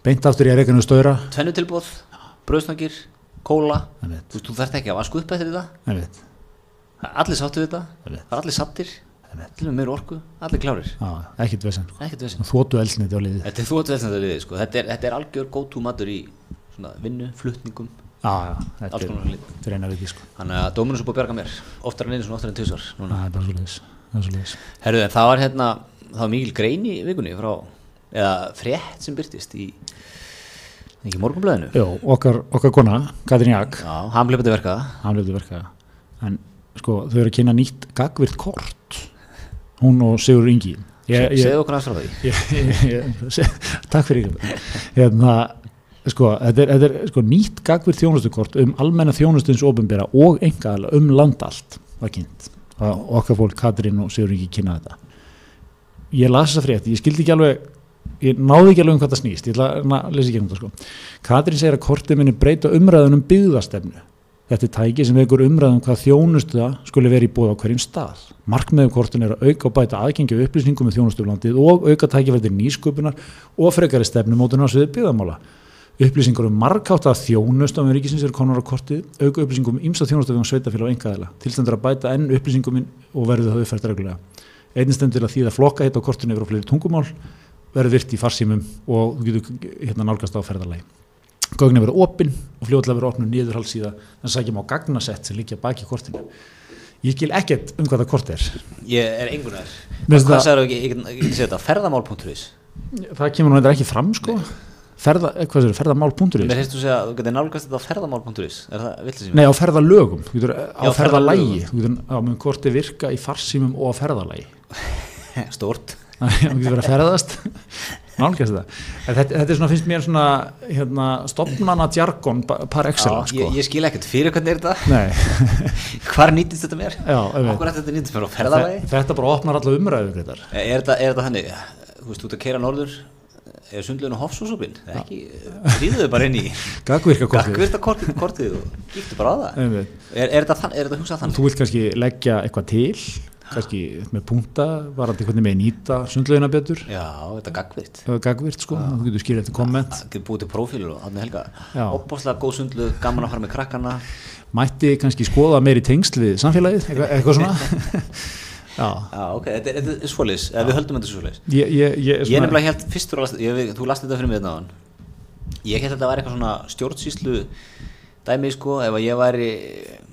S2: Beint aftur í reikinu störa
S1: tvennu tilbúð, bröðsnakir, kóla
S2: Einmitt.
S1: þú, veist, þú þarft ekki að vasku upp eftir þetta
S2: Einmitt
S1: Það er allir sáttu við þetta,
S2: Einmitt.
S1: það er allir sattir
S2: Einmitt.
S1: allir með meira orku, allir klárir
S2: Já, ekkert vesen sko.
S1: ekkert veginn
S2: Þótu elsniti á liðið
S1: Þetta er þú að þetta liði, sko. þetta, er, þetta er algjör go to matur í svona, vinnu, flutningum
S2: Já, já, þetta
S1: Alls
S2: er
S1: konar lið.
S2: þetta er eina við því sko
S1: Þannig að dóminus er búið að bjarga mér oftar en einu svona, oftar en tvisar
S2: Já, Það er bara svo liðis Það er svo liðis
S1: Herðu, en það var hérna, það var mikil grein í vikunni frá, eða frétt sem byrtist í ekki morgunblöðinu
S2: Jó, okkar, okkar kona, Katrin Jak
S1: Já, hann bleipandi verka
S2: Hann lefði verka En sko, þau eru að kynna nýtt gagvirt kort Hún og Sigur Ingi Ég- ég-
S1: Segðu okkur hans frá því
S2: Ég- ég- ég- se- takk fyrir ykkur. hérna, sko, þetta er, þetta er sko, nýtt gagvir þjónustukort um almenna þjónustins ofinbera og engaðala um land allt var kynnt og okkar fólk Katrín og Sigur Ingi kynna þetta ég las þessa frétt, ég skildi ekki alveg ég náði ekki alveg um hvað það snýst ég ætla að reyna að lesa ekki um það sko Katrín segir að kortið minni breyta umræðunum um byggðastefnu Þetta er tæki sem vekur umræðum hvað þjónustu það skuli verið í bóð á hverjum stað. Markmiðum kortin er að um auka og bæta aðgengi og upplýsningum með þjónustuflandið og auka tækifættir nýsköpunar og frekari stefnumótunar á sviði byggðamála. Upplýsingar um markáta þjónustu á með ríkisins er konar á kortið, auka upplýsingum um ímsa þjónustu við um sveitafélag og engaðila. Tilstendur að bæta enn upplýsingum og verður það uppfært reglulega. Einnig stendur til að þýða flokka á kortinu yfir á fleiri tungumál, verður virt í farsímum og þú getur hérna nálgast á ferðarlagi. Gögnin verður opinn og fljóðlega verður opnum niðurhalsíða en sækjum á gagnasett sem líkja baki kortinu. Ég skil ekkert um hvað það kort er.
S1: Ég er engunar
S2: Mér finnst
S1: Hvað
S2: það-
S1: sagður ekki, ég get- ég geti segið þetta, ferðamál.is
S2: Það kemur nú eitthvað ekki fram sko. Ferða, eh, hvað er það, ferðamál.is?
S1: Mér hefst þú segja, þú getur nálgast þetta á ferðamál.is Er það, viltu sem
S2: Nei, á ferðalögum, þú getur eh, á
S1: Já,
S2: ferðalagi, þú getur á mun korti virka í farsímum og á ferðalagi.
S1: ég? Stort
S2: Þannig að þú getur verið að ferðast, nálgast það. En Þetta, þetta er svona, finnst mér svona, hérna, stopnmanna djargon par excellence sko.
S1: ég, ég skil ekkert fyrir hvernig er þetta
S2: Nei,
S1: Hvar nýtist þetta mér?
S2: já, auðvitað.
S1: Okkur eftir þetta nýtist mér á ferðalagi? Eh,
S2: Þetta, þetta bara opnar alla umræður þetta.
S1: Er þetta, er þetta þannig, þú veist, þú ert að keira norður, eh, er sundlegin og hofsúsopinn? Ekki, hrýðu þau bara inn í
S2: Gagvirka kortið.
S1: gagvirta kortið, kortið og giftu bara á það.
S2: Einmitt.
S1: Er, er þetta, þann- er þetta hugsað þannig?
S2: Þú vilt kannski leggja eitthvað til, kannski með punta, varandi hvernig með nýta sundlaugina betur,
S1: Já, þetta er gagvirt.
S2: eða gagvirt sko, þú getur skýrðið eftir komment.
S1: Það getur búið til prófílur og þannig helga.
S2: Já.
S1: Opbáslega góð sundlug, gaman að fara með krakkana.
S2: Mætti kannski skoða meiri tengsl við samfélagið, eitthvað, eitthvað svona. Já,
S1: Já, ok, þetta, er- þetta er svoleiðis, eða við höldum þetta svoleiðis.
S2: ég, ég, ég,
S1: Ég er nefnilega helt fyrstur að lasta, ég, veit- þú lasti þetta fyrir mig þetta áðan. Ég held að þetta væri eitthvað svona stjórnsýslu dæmi sko, ef að ég væri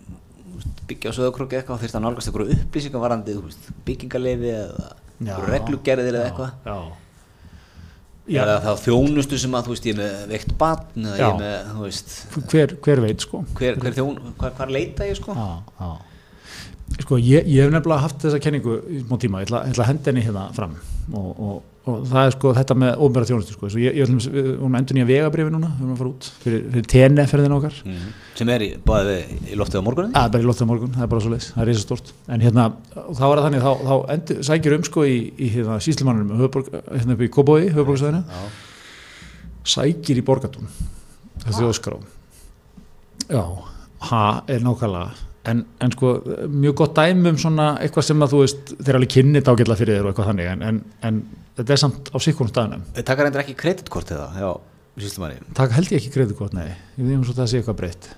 S1: þú veist, byggja á söðakróki eitthvað þyrst að nálgast einhverju upplýsingum varandi, þú veist, byggingarleifi eða
S2: Já.
S1: einhverju reglugerðir eða eitthvað.
S2: Já, Já.
S1: eða þá þjónustu sem að þú veist ég er með veikt batn eða ég
S2: Já.
S1: er með, þú veist
S2: hver, hver veit sko
S1: hver, hver þjón, hvar, hvar leita ég sko
S2: já, já. sko ég, ég hef nefnilega haft þessa kenningu í smá tíma, ég ætla, ég ætla að henda henni hérna fram og, og, og það er sko þetta með ofnbæra þjónustu sko, Svo ég, ég ætlum við erum endur nýja vegabrifi núna, við erum að fara út fyrir, fyrir TNF ferðin okkar
S1: Mhm. sem er í, bæði í loftið á morgunni
S2: Það er bara í loftið á morgun, það er bara svo leiðis, það er reisastort en hérna, þá er það þannig, þá, þá endur, sækir um sko í, í hérna, síslumannunum höfuborg, hérna upp í Kobói, höfuborgsvæðinu
S1: Já.
S2: sækir í borgatún það er þjóðskrá já, ha er nákvæmlega en, en sko, mjög gott dæmi um svona eitthvað sem að þú veist þeir alveg kynni dágætla fyrir þér og eitthvað þannig en, en, en þetta er samt á sikkunum staðinum
S1: Þau taka reyndir ekki kreditkort eða já, sýslumanni
S2: það held ég ekki greiðu gott, nei ég veit um svo það sé eitthvað breytt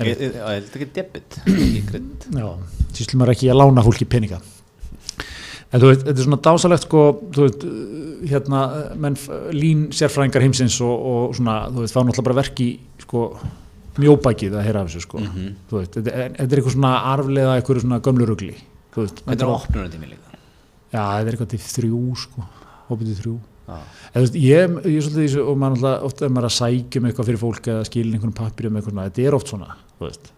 S2: En-
S1: ég ég- já, ég held ekki debit ekki kredit
S2: Já, sýslum er ekki að lána fólki peninga en þú veit, þetta er svona dásalegt sko, þú veit, uh, hérna uh, menn f- lín sérfræðingar heimsins og, og svona, þú veit, fá náttúrulega bara verki sko, mjóbækið að heyra af þessu sko, þú veit, þetta en þetta er eitthvað svona arflega, eitthvað svona gömlu rugli þú veist,
S1: þetta er
S2: á-
S1: opnunar tími líka
S2: já, þetta er eitthvað til þrjú sko, hópið til þrjú
S1: já.
S2: En þú veist, ég, ég er svolítið í þessu og maður alltaf, oft er maður að sækja um eitthvað fyrir fólk eða skilin einhvern pappir um eitthvað, svona. þetta er oft svona, þú veist,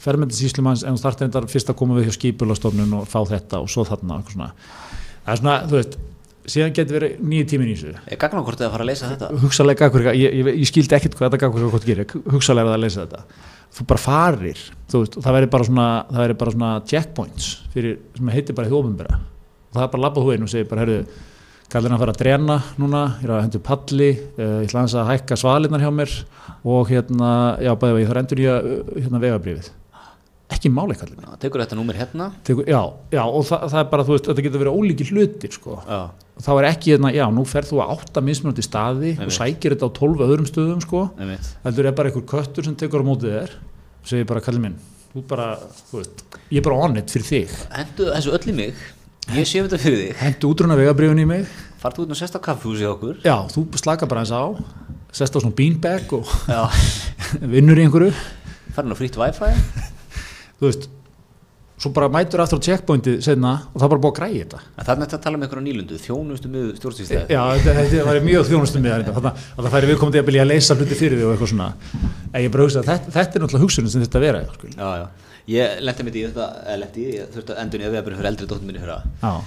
S2: fermendis íslumanns en þú startir þetta fyrst að koma við hjá skipulastofnun og fá þetta og svo þarna og eitthvað svona. Það er svona, þú veist, síðan getur verið nýju tímin í þessu.
S1: er gagnakortið að fara að leysa þetta
S2: Hugsalega gagkur, ég, ég, ég skildi ekkert hvað þetta gagkur hvað gerir, hugsalega er það að leysa þetta. Þú bara farir, þú veist, og það verður bara svona, það verður bara svona checkpoints fyrir, sem heitir bara hjóðbunbera og það er bara labbað hóin og segir bara, herðu, kallin að fara að drena núna, ég er að hendur palli, uh, ég ætla aðeins að hækka svalinnar hjá mér og hérna, já, bæði vegi, það er endur nýja uh, hérna vegabrifið. Ekki máli, kallin.
S1: Já, tekur þetta númer hérna
S2: Tekur, já, já, og það, það er bara, þú veist, þetta getur verið ólíki hlutir, sko.
S1: já.
S2: Og Þá er ekki, hérna, já, nú ferð þú að átta mismunandi staði og
S1: Einmitt.
S2: sækir þetta á tólf öðrum stöðum, sko.
S1: einmitt.
S2: Heldur er bara einhver köttur sem tekur á mótið þér og segir bara, kallin minn, þú bara, þú veist, ég er bara on it fyrir þig.
S1: hendu þessu öll í mig ég sé um þetta fyrir þig
S2: Hentu útrunna vegabrifin í mig,
S1: farðu út og sérst á kaffhúsi hjá okkur
S2: já, þú slaka bara eins á, sest á svona beanbag og
S1: já.
S2: vinnur í einhverju
S1: farðu nú frýtt wifi en
S2: þú veist svo bara mætur aftur á checkpointið senna og það er bara búið að græja þetta
S1: þarna er þetta að tala um einhverja nýlundu þjónustu miður stjórnsýslega
S2: já, þetta, þetta væri mjög þjónustum við þetta það færi viðkomandi að byrja að leysa hluti fyrir þig og eitthvað svona en ég bara hugsa að þetta, þetta er náttúrulega hugsunum sem þetta vera sko.
S1: já, já. ég lendi mitt í þetta eða lendi í, ég þurfti að endur nýja vegabrið fyrir eldri dóttir minni fyrir
S2: já,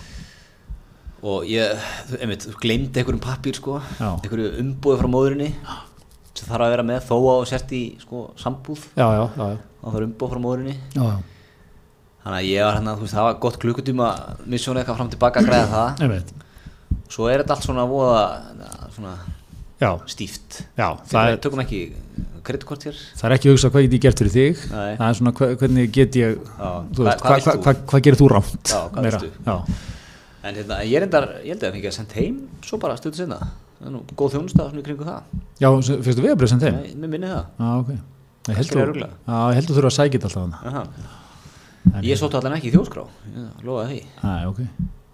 S1: og ég, þú- einmitt, glemdi einhverjum pappir sko,
S2: Já.
S1: einhverju umbúið frá móðurinni sem þarf að vera með þó á og sért í sko, sambúð
S2: já, já, já, já.
S1: og það er umbúið frá móðurinni
S2: já, já.
S1: þannig að ég var hérna, þú veist, það var gott klukkutíma missjónu eitthvað fram og tilbaka að græða það
S2: einmitt.
S1: svo er þetta allt svona voða svona
S2: já,
S1: stíft
S2: já
S1: það
S2: það, er,
S1: tökum ekki kreditkort hér
S2: það er ekki að hugsa hvað get ég gert fyrir þig
S1: Nei.
S2: það er svona hva- hvernig get ég
S1: Já,
S2: þú veist,
S1: hvað-
S2: hvað
S1: hvað vilt þú?
S2: hva, hva, hva gerir þú rámt
S1: Já, hvað vilt þú?
S2: já,
S1: en hérna, ég er endar, ég held að það fengi að senda heim svo bara stöðu sinna, það er nú góð þjónusta svona í kringu það,
S2: já fyrstu vegabrið sem þeim
S1: Nei, mér minni það
S2: Já, ok. Ég held
S1: Kannski
S2: þú,
S1: er örugglega.
S2: já, ég held þú þurfa að sækja þetta alltaf hana.
S1: Aha.
S2: En-
S1: ég sótt allan ekki í þjóðskrá ég lofaði því,
S2: Já, ok.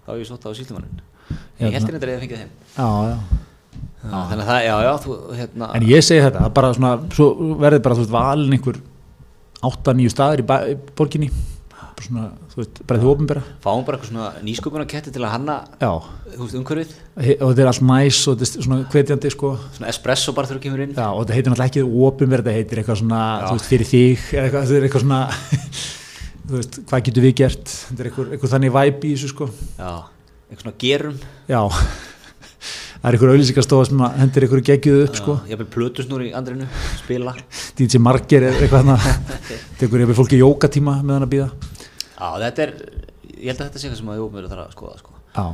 S1: þá hef ég sótt á síldumannin
S2: Hérna.
S1: ég held endar að ég fengið heim
S2: Já, já.
S1: þannig að það, já, já, þú, hérna
S2: En ég segi þetta, það er bara svona, svo verður bara, þú veist, valin einhver 8-9 staðir í, ba- í borginni, bara svona, þú veist, bara því ofinbera.
S1: fáum bara eitthvað svona nýsköpunarketti til að hanna
S2: Já,
S1: þú veist, umhverfið,
S2: He- og þetta er allt næs og þetta er svona hvetjandi, sko.
S1: svona espresso bara þurfa að kemur inn
S2: Já, og þetta heitir náttúrulega ekki ofinbera, þetta heitir eitthvað svona,
S1: Já.
S2: þú veist, fyrir þig, eða eitthvað, þetta er eitthvað svona, þú veist, hvað getur við gert, þetta er eitthvað, eitthvað þannig væp í þessu, sko.
S1: já, eitthvað svona gerum
S2: Já, það er eitthvað auðlýsingastofa sem að hendir eitthvað geggjuð upp, sko.
S1: ég vil plötusnúr í andrinu, spila
S2: DJ Marger eða eitthvað hana tekur yfir fólki jókatíma með hann að býða
S1: já, þetta er, ég held að þetta sé eitthvað sem að ég ofmur þarf að skoða, sko
S2: já,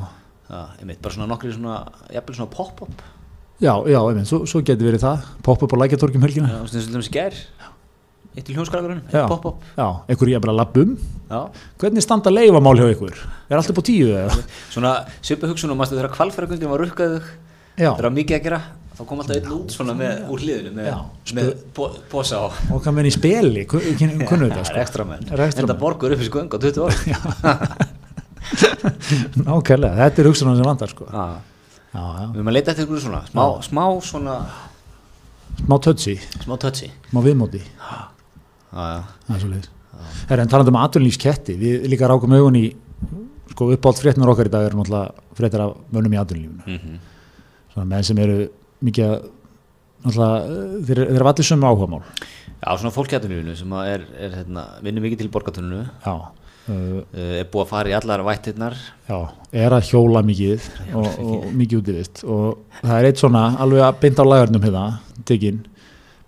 S1: já, einmitt, bara svona nokkri svona, jafnvel svona pop-up
S2: já, já, einmitt, svo, svo getur verið það poppa upp á lækjartorgjum helgina
S1: já, svona sem þessi ger eitt til hljónskaragurinn,
S2: já,
S1: eitt pop-up
S2: já, einhverju ég bara lapp um
S1: já,
S2: hvernig standa leifamál hjá ykkur er alltaf búið tíu eða
S1: svona svipa hugsunum, maður þegar kvalfæragundin var rukkaðug
S2: já,
S1: þegar var mikið að gera, þá kom alltaf einn út svona með úr hliðinu, með,
S2: Já. sko.
S1: með po posa á
S2: og hvað menn í speli kunnu þetta
S1: Það
S2: sko
S1: er ekstra menn,
S2: Rekstramenn.
S1: þetta borgur upp í sköng á 20 ára
S2: nákvæmlega, þetta er hugsunan sem vandar sko já,
S1: Já.
S2: já,
S1: Við erum að leita eftir ykkur svona, smá, smá svona,
S2: smá tötsi
S1: smá touchy
S2: smá viðmóti,
S1: Já,
S2: það er svo leiðis en talandi um atvinnlífsketti, við líka rákum augun í sko uppált fréttnar okkar í dag eru náttúrulega fréttar af mönnum í atvinnlífinu
S1: já.
S2: Svona svona menn sem eru mikið að alltaf, þeir, þeir eru allir sömu áhugamál
S1: Já, svona fólkjættuninu sem að er, er hérna, vinnum mikið til borgatuninu
S2: já, uh,
S1: uh, er búið að fara í allar vættirnar
S2: já, er að hjóla mikið og, og mikið útivist og það er eitt svona alveg að beint á lagarnum hérna, tekinn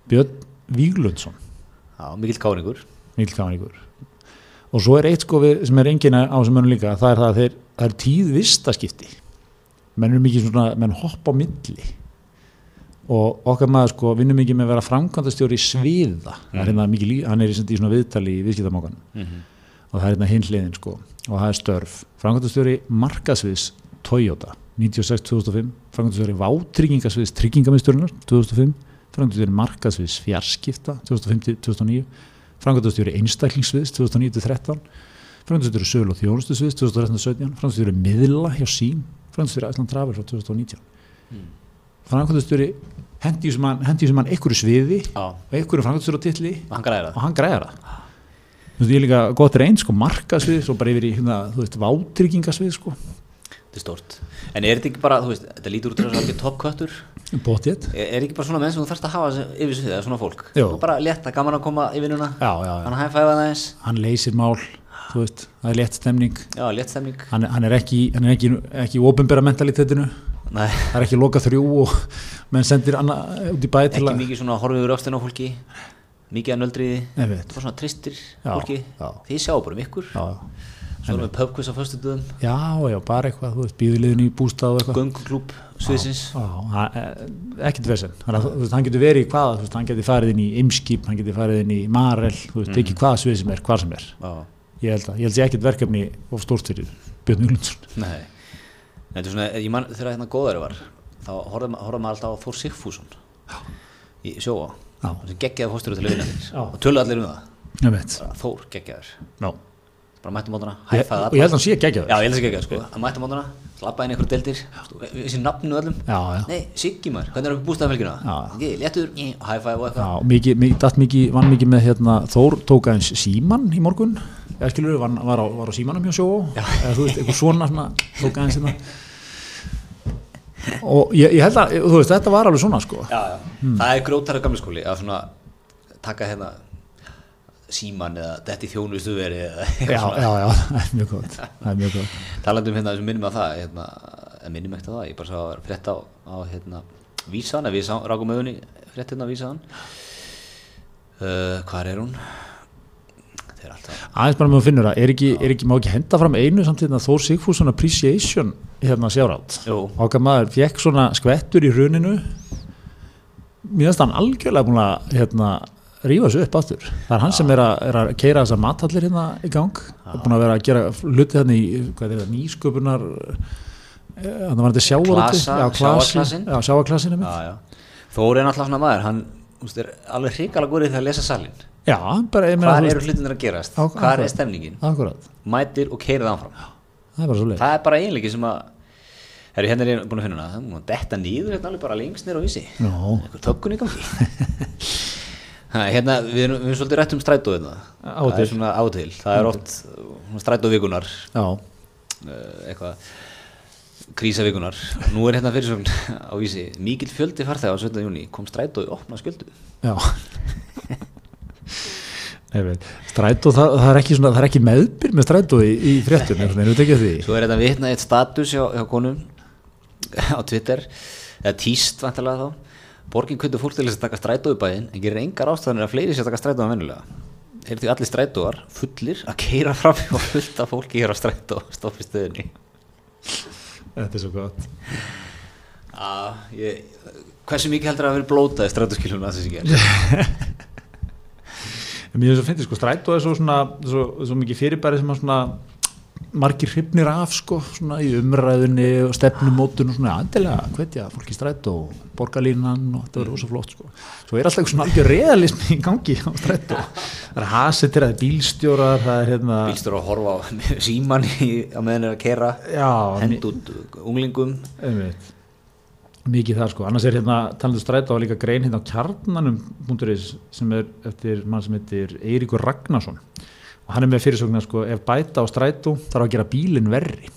S2: Björn Víglundsson,
S1: Já, mikill káringur
S2: mikilkáningur og svo er eitt sko við, sem er engin á sem mönnum líka, það er það að þeir það er tíð vistaskipti menn eru mikið svona, menn hoppa á milli og okkar maður sko vinnur mikið með að vera framkvæmdastjóri sviða, mm. er hérna mikið, lí- hann er í, í svona viðtali í viðskiptamókan og það er hérna hinn hliðin sko og það er störf, framkvæmdastjóri markasviðs Toyota 96-2005, framkvæmdastjóri vátryggingasviðs tryggingamisturinnar 2005 framkvæmdastjóri markasviðs fjarskipta 2005-2009, framkvæmdastjóri einstaklingsviðs 2009-13 framkvæmdastjóri sölu og þjónustusviðs 2013-17, framkvæmdastjóri miðla hjá sím, framkvæmdastjóri æsland travel frá 2019 framkvæmdastjóri hendi sem hann, hendi sem hann einhverju sviði
S1: Já,
S2: og einhverju framkvæmdastjóra titli
S1: hann græðir það
S2: og hann græðar það þú veist, ég er líka gott reynd sko, markasvið, svo bara yfir í hérna, þú veist, vátryggingasvið sko,
S1: Þetta er stórt En er þetta ekki bara, þú veist, þetta lítur út þessu alveg toppköttur
S2: bóttið
S1: er, er ekki bara svona menn sem þú þarfst að hafa sem- yfir svið eða svona fólk
S2: Jú.
S1: Og Bara létta, gaman að koma í vinnuna
S2: já, já, já,
S1: Hann hæfæfa það eins
S2: hann leysir mál þú veist, það er létt stemning
S1: Já, létt stemning
S2: hann, er- hann er ekki, hann er ekki, ekki í opinbera mentalitetinu,
S1: Nei,
S2: það er ekki loka þrjú og menn sendir anna, út í bæ til
S1: ekki
S2: að
S1: mikið svona horfið úr öxtin á fólki Mikið að nöldriði
S2: Nei, veit.
S1: Bara svona tristir
S2: Já,
S1: fólki
S2: já.
S1: Þið sjáu bara um ykkur
S2: já, já.
S1: Svo erum við pubquiz á föstudöðum
S2: já, já, bara eitthvað, þú veist, býðulegin í bústað og eitthvað
S1: Gönguklúb sviðsins
S2: Já, hann- eh, ekkert vesen þannig að þú veist, hann getur verið í hvaða þú veist, hann getur farið inn í Imskip, hann getur farið inn í Marel, þú veist, ekki hvaða svið sem er, hvar sem er
S1: Já,
S2: ég held að, ég held að ekkert verkefni of stórt fyrir Björn Júlundsson
S1: nei Þetta er svona, ég man þegar hérna góðari var Þá horfði ma- horfði maður alltaf á Þór Sigfússon Í sjóa
S2: Já.
S1: Sem geggjaði fóstur til löginaðir
S2: Já.
S1: Og tölu allir um það
S2: ég veit
S1: Bara, Þór geggjaður
S2: no.
S1: Bara mættum mótana,
S2: ég,
S1: hæfaði
S2: og ég held að hann sé ekki ekki
S1: Já, ég held að geggjaður sko Að mættum mótana, slappa inn í einhverju deildir þú veist, Þessi nafninu öllum
S2: já, já, já,
S1: Nei, Siggi maður, hvernig er upp bústaðamelgina?
S2: Já.
S1: Ekki, léttur, hæfaði og eitthvað
S2: mikið, mikið, datt mikið, vann mikið með hérna, Þór tók aðeins síman í morgun eða skilur, var, var, á, var á símanum hjá sjó eða þú veist, eitthvað svona, svona tók aðeins hérna og ég, ég held að, þú veist, þetta var alveg svona sko,
S1: já, já. það er grótara gamli skóli að svona taka hérna síman eða detti þjónustu veri
S2: já, já, já, það er mjög gott það er mjög gott
S1: talandi um hérna sem minnum að það hérna, en minnum ekkert að það, ég bara sá að frétta á, á hérna, vísan, að við sá- rákum auðunni frétt hérna á vísan uh, hvar er hún þetta er alltaf
S2: aðeins bara með að finnur það, er ekki, er ekki má ekki henda fram einu samt hérna Þór Sigfússon Appreciation hérna sjárátt
S1: Jú.
S2: okkar maður fekk svona skvettur í runinu mjögast hann algjörlega búin að hérna, rífa sig upp aftur það er hann sem er að, er að keira þessa matallir hérna í gang og búin að vera að gera hluti hérna í hvað er það, nýsköpunar þannig var þetta sjávarúti
S1: Klasa,
S2: já, klasi,
S1: sjávarklasinn.
S2: já, sjávarklasinu mitt
S1: já, já. Þóri er náttúrulega svona maður hann þú veist, er alveg hrikalega góðið þegar að lesa salin
S2: já, bara ég
S1: hvar
S2: þú
S1: eru
S2: veist,
S1: hlutinir að gerast,
S2: Á-
S1: hvar
S2: ákvæmt.
S1: er stemningin
S2: akkurat,
S1: mætir og keirið áfram
S2: það er bara svo leið
S1: það er bara eiginleiki sem að Herri, hérna er ég búin að finna hana, það er búin að detta nýður hérna alveg bara lengst nýra á vísi.
S2: Já.
S1: Einhver tökkun í gangi. ha, hérna, við erum, við erum svolítið rætt um strætó hérna.
S2: Á og
S1: Það er
S2: til.
S1: svona átil, það er oft uh, strætóvikunar,
S2: já,
S1: uh, eitthvað, krísavikunar. Nú er hérna fyrir svona á vísi, mikill fjöldi farþega á 17. júni, kom strætó í opna skjöldu.
S2: Já Nei, veit, strætó, það, það, er ekki svona, það er ekki meðbyr með strætó í, í fréttum, er það ekki að því?
S1: Svo er þetta vitna í eitt status hjá, hjá konum á Twitter eða tíst vantilega þá Borgin kvöldu fólk til þess að taka strætó í bæinn en gerir engar ástæðanir að fleiri sé að taka strætó en venjulega Er því allir strætóar fullir að keira fram og fullt af fólki hér á strætó stoppi stöðinni
S2: Þetta er svo gott.
S1: ah, ég, Hversu mikið heldur að hafa verið blótað í strætóskilunum að þessi gerð?
S2: En mér finnst að finna, sko, strætó er svo, svona, svo, svo mikið fyrirbæri sem að svona margir hrifnir af, sko, svona í umræðunni og stefnumótun og svona andilega, hvetja, fólki í strætó, borgarlínan og þetta er rosa flott, sko. Svo er alltaf eitthvað svona algjör reðalismi í gangi á strætó. Það er hasetir, það er bílstjórar, það er hérna...
S1: Bílstur að horfa á síman í, á meðan er að keira
S2: Já,
S1: hend út unglingum
S2: Einmitt. mikið það sko, annars er hérna talandu stræta og líka grein hérna á kjarnanum.is sem er eftir mann sem heitir Eiríkur Ragnarsson og hann er með fyrirsögnar sko, ef bæta á strætó þarf að gera bílinn verri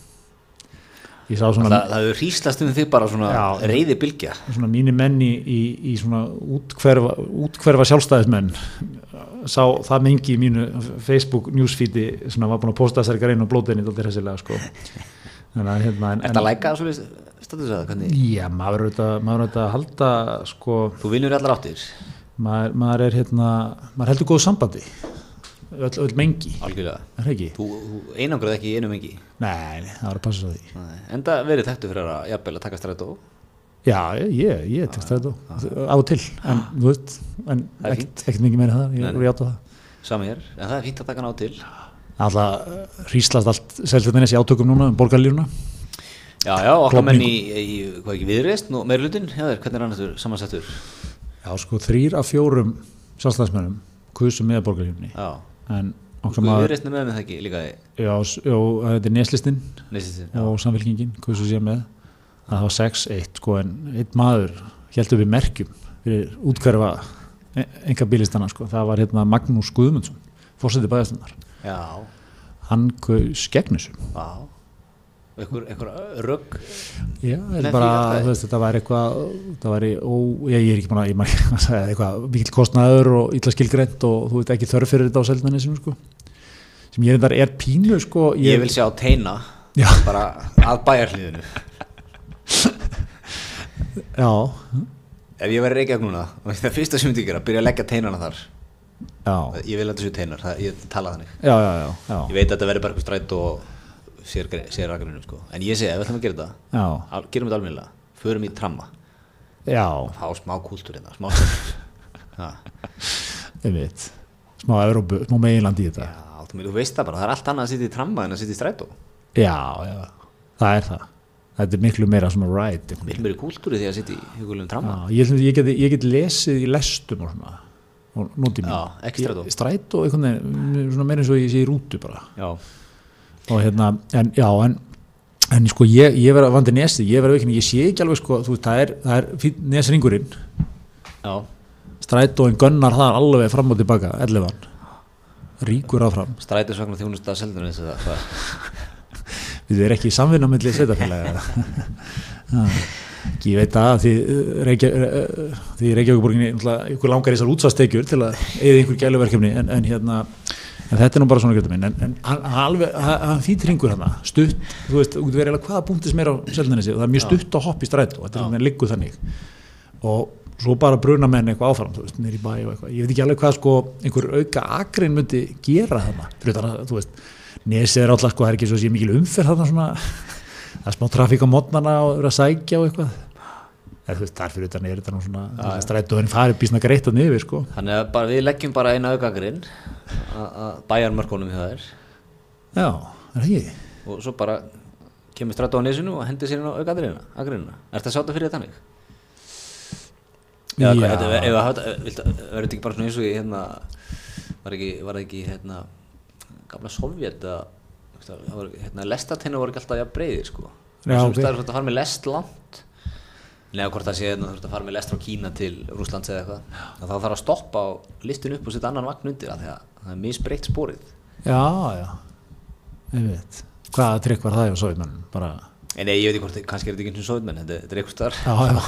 S2: ég sá
S1: Það,
S2: svona,
S1: það hefur hríslast um þig bara svona
S2: Já.
S1: reyði bylgja.
S2: svona mínir menn í, í, í svona útkverfa, útkverfa sjálfstæðismenn sá það mengi í mínu Facebook newsfeedi svona var búin að posta þessari grein og blóðinni þetta er hessilega sko þannig að hérna en,
S1: Er þetta læka svo leist status að hvernig?
S2: já, maður er auðvitað maður er auðvitað að halda sko
S1: Þú vinnur í allar áttir,
S2: maður, maður er hérna maður heldur góðu sambandi öll, öll mengi,
S1: algjörlega.
S2: er það ekki?
S1: Þú, þú einangrað ekki í einu mengi.
S2: Nei, nei, það var að passa svo því
S1: Nei. Enda verið þekktu fyrir að jafnvel að taka strætó.
S2: já, ég, ég tekst þetta á og til, en þú veist en
S1: Ah. Það er
S2: ekkert, ekkert mikið meira en það,
S1: Nei,
S2: ég
S1: nei.
S2: voru játa það
S1: Sama hér, en það er fínt að taka hann á til.
S2: alltaf eh, hríslast allt seltjarnins í átökum núna um borgarlífuna
S1: Já, já, okkar menn í,
S2: Klofningu.
S1: í hvað ekki viðreist, nú meiri hlutin, hefur, hvernig er hann þetta samansettur?
S2: já sko þrýr af fjórum sjálfstæðismennum kusum með borgarlífunni
S1: Já,
S2: en okkar maður
S1: viðreist er með með það ekki líka í
S2: já, s- já, þetta er neslistinn
S1: neyslistin.
S2: og samfélkingin kusu sér með að það var 6-1 sko en einn maður heldur við merkjum fyrir útkverfa e-, enga bílistana sko, það var hérna Magnús Guðmundsson fórsetið bæðastunnar
S1: Já,
S2: hann kus gegnisum
S1: já. Ekkur, ekkur rögg,
S2: Já, þetta
S1: Með
S2: er bara,
S1: því að-
S2: þú veist, þetta var eitthvað, þetta var, ó, ég, ég er ekki manna, ég maður ekki að segja eitthvað, mikill kostnaður og illa skilgreint og þú veit ekki þörf fyrir þetta á seldanisum, sko, sem ég reyndar er pínu, sko,
S1: ég vil sjá teina,
S2: Já.
S1: bara að bæjarhliðinu.
S2: já,
S1: Hm? Ef ég verið reykjað núna, og það fyrsta sem ég myndi gera, byrja að leggja teinana þar.
S2: já,
S1: Ég vil að þetta séu teinar, það, ég tala þannig.
S2: já, já, já, já,
S1: Ég veit að þetta verður bara eitthvað strætt og sér, sér rakarinu, sko. En ég segi, ef við ætlum að gera þetta,
S2: já,
S1: al- gerum þetta almennilega, förum í tramma,
S2: já,
S1: fá smá kúltúr hérna, smá stemningu. Ha.
S2: ég veit, smá Európu, smá meginland í þetta,
S1: Já, þú meina, þú veist það bara, það er allt annað að sitja í tramma en að sitja í strætó.
S2: já, já, það er það, þetta er miklu meira svona ride, einhvern veginn.
S1: Mér er meiri kúltúri því að sitja í hugulegum tramma.
S2: já, ég, ég, get, ég get lesið í lestum og svona, og nóti mér.
S1: Já, ekki strætó.
S2: Ég- Strætó, einhvern veginn, svona meira eins og ég sé í rútu bara.
S1: Já,
S2: og hérna, en já, en en sko ég, ég verða vandi nesið, ég verða veikinn ég sé ekki alveg sko, þú veist, það er, það er fínn nesringurinn,
S1: já,
S2: strætóin gönnar það alveg fram og tilbaka, ellefann ríkur áfram,
S1: strætisvagnar þjónusta seldur eins og það. það.
S2: við erum ekki í samvinna milli sveitafélaga Já, ekki, ég veit að því uh, reykja, eh, því Reykjavíkuborginni náttúrulega, ykkur langar í þessar útsvarstekjur til að eða einhver gæluverkefni, en, en hérna en þetta er nú bara svona gæta minn en, en hann, hann alveg, hann, hann fýtt ringur hann stutt, þú veist, þú getur verið eiginlega hvaða punktis meira á seldanessi og það er mjög stutt að hoppa í strætó þetta er þannig að liggu þannig og svo bara bruna menn eitthvað áfram þú veist, nýri bæ og eitthvað, ég veit ekki alveg hvað sko einhver auka akrein myndi gera þarna fyrir þannig að, þú veist, nesið er alltaf sko, það er ekki svo sé mikil umferð þarna svona það er smá trafík á mótnana og verið að sækja og eitthvað eða þú veist, þar fyrir utan er þetta nú svona strætóðin farið býsna greitt að niður sko
S1: Þannig að bara, við leggjum bara eina aukagrin að bæjarmörkunum hjá þær
S2: já, er það ekki?
S1: og svo bara kemur strætó á nesinu og hendir sér inn á aukagrinina. agrinina. Er þetta sátt að fyrir þetta hannig? Já, hvað, þetta, ef, ef, ef, eh, viltu, verður þetta ekki bara svona eins og í hérna, var ekki, var það ekki hérna, gamla Sovjet að, það var, hérna, lestatinnu voru ekki alltaf jafn breiðir, sko.
S2: Já,
S1: Sums
S2: ok.
S1: staðar þú ert að fara með lest langt, neða hvort það sé hérna, þú ert að fara með lest frá Kína til Rússlands eða eitthvað, að þá þarf að stoppa á listin upp og setja annan vagn undir að því að það er misbreytt spórið.
S2: já, já, ég veit hvaða trikk var það hjá sovjetmennum bara,
S1: En nei, ég veit ekki hvort, kannski er þetta ekki eins og Sovjet, menn, þetta, þetta er eitthvað starf,
S2: já, já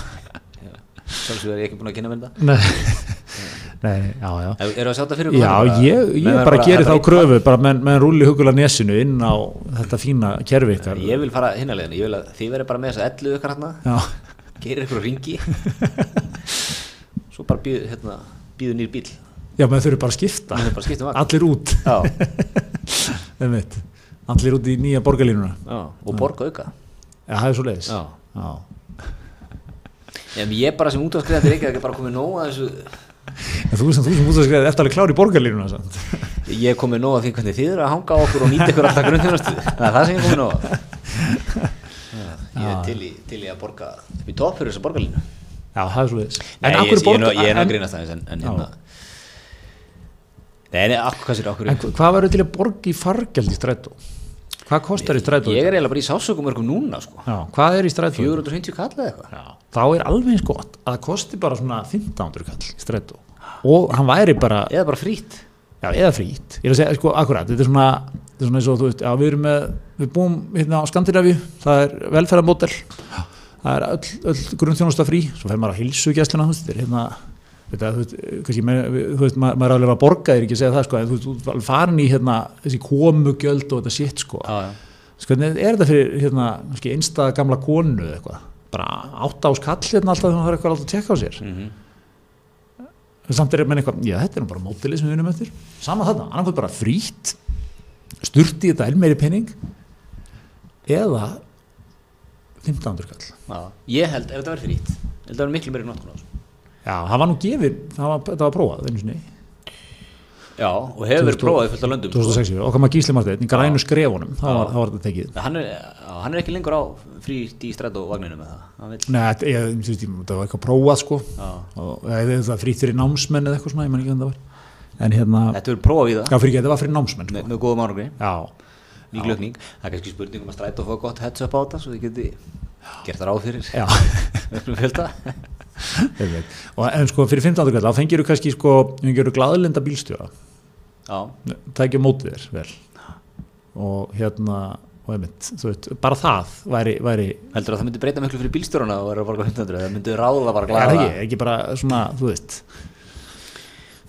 S1: sjálfsögur er ég ekki búin að kynna með þetta.
S2: nei, nei, já, já
S1: Er, eru að sjá þetta fyrir okkur?
S2: Já, ég, ég
S1: Menn
S2: bara,
S1: eru þetta
S2: gerir
S1: er
S2: þá
S1: einn
S2: kröfu bara menn, menn rúli hugula nesinu inn á þetta fína kerfi ykkar
S1: Ég vil fara hinnalegin, ég vil að þið verið bara með þess að ellu ykkar hérna,
S2: Já,
S1: gerir ykkur ringi svo bara býður hérna, býður nýr bíl
S2: já menn þurfi bara að skipta
S1: það er bara um skiptum vagn
S2: Allir út
S1: já,
S2: Einmitt. Allir út í nýja borgarlínuna
S1: já, og borga auka
S2: Já, það er svo leiðis
S1: Já.
S2: já.
S1: en ég bara sem út að skriða þetta ekki bara komið nóg að þessu
S2: En þú sem þú sem út að skrifa eftir alveg klár í borgarlínuna samt.
S1: ég er komið nóg að því hvernig þið eru að hanga á okkur og nýta ykkur alltaf grunnþjónustu það er það sem ég er komið nóg að Já, ég er til í, til í að borga upp í topp fyrir þessa borgarlínu
S2: Já, það er svo leiðis
S1: Nei, ég, ég, er nú- ég er nú að grínast aðeins en, en
S2: Já.
S1: hérna Nei, nei, akkur, hvað sér akkur
S2: en hvað verður til að borga í fargjald í strætó? Hvað kostar í strætó?
S1: Ég er eiginlega bara í sásökum örgum núna sko.
S2: Já, hvað er í strætó?
S1: 450 kall eða eitthvað
S2: Já. Þá er alveg eins gott að það kosti bara svona 1500 kall í strætó og hann væri bara
S1: Eða bara frýtt
S2: Já, eða frýtt. Ég er að segja, sko, akkurat, þetta er svona, þú þetta er svona eins og þú veist, já, við erum með við búum hérna á Skandinavíu, það er velferðamódel það er öll, öll grunnþjónusta frí, svo fer maður á hilsugjæsluna þú veist, þetta er hérna þetta, þú veist, kannski, meira- við- þú veist, maður, maður er alveg að borga þér ekki að segja það, sko, en þú veist, þú ert farin í hérna, þessi komugjöld og þetta sitt, sko
S1: já, já.
S2: Þú veist, hvernig er þetta fyrir, hérna, kannski einsta gamla konu eða eitthvað, bara átta á skall hérna alltaf þegar hún þarf eitthvað alltaf að tjekka á sér
S1: Mm
S2: En samt er menn eitthvað, já þetta er nú bara mótilið sem við unum eftir sama þarna, annarkvæmt bara frýtt sturti í þetta enn meiri pening eða 1500 kall
S1: já. Ég held, ef þetta verður frýtt, ég held að verður miklu meiri notkun á þessu.
S2: já, það var nú gefið, það var, það var prófað einu sinni,
S1: Já, og hefur verið
S2: 2000
S1: prófað í fullt af löndum. sko.
S2: 2006 og kom að Gísli Marteinn í grænu skrefunum það var,
S1: Já.
S2: það var þetta tekið
S1: Hann er, já, hann er ekki lengur á frýtt í strætóvagninu með það. Hann vill,
S2: Nei, þetta, ég, þú veist, ég- það var eitthvað prófað sko
S1: já.
S2: og eða það frýtt fyrir námsmenn eða eitthvað svona, ég man ekki hvernig það var en hérna,
S1: Þetta verður prófað í það
S2: já fyrir ekki, þetta var fyrir námsmenn sko.
S1: með, með góðum árangri,
S2: já,
S1: miklu aukning. Það er kannski spurning um að strætó fá gott heads up á þetta svo þið geti gert það ráð fyrir.
S2: já
S1: Öllum fjölda.
S2: Ég veit. og en sko fyrir 15. kall þá fengir þú kannski sko, fengir þú glaðlenda bílstjóra
S1: Já,
S2: tækja mótið þér vel og hérna og einmitt, þú veit, bara það væri, væri
S1: heldur að það myndi breyta miklu fyrir bílstjórana og verður að borga 500, það myndi ráða bara
S2: er
S1: glæða.
S2: ekki, ekki bara svona, þú veist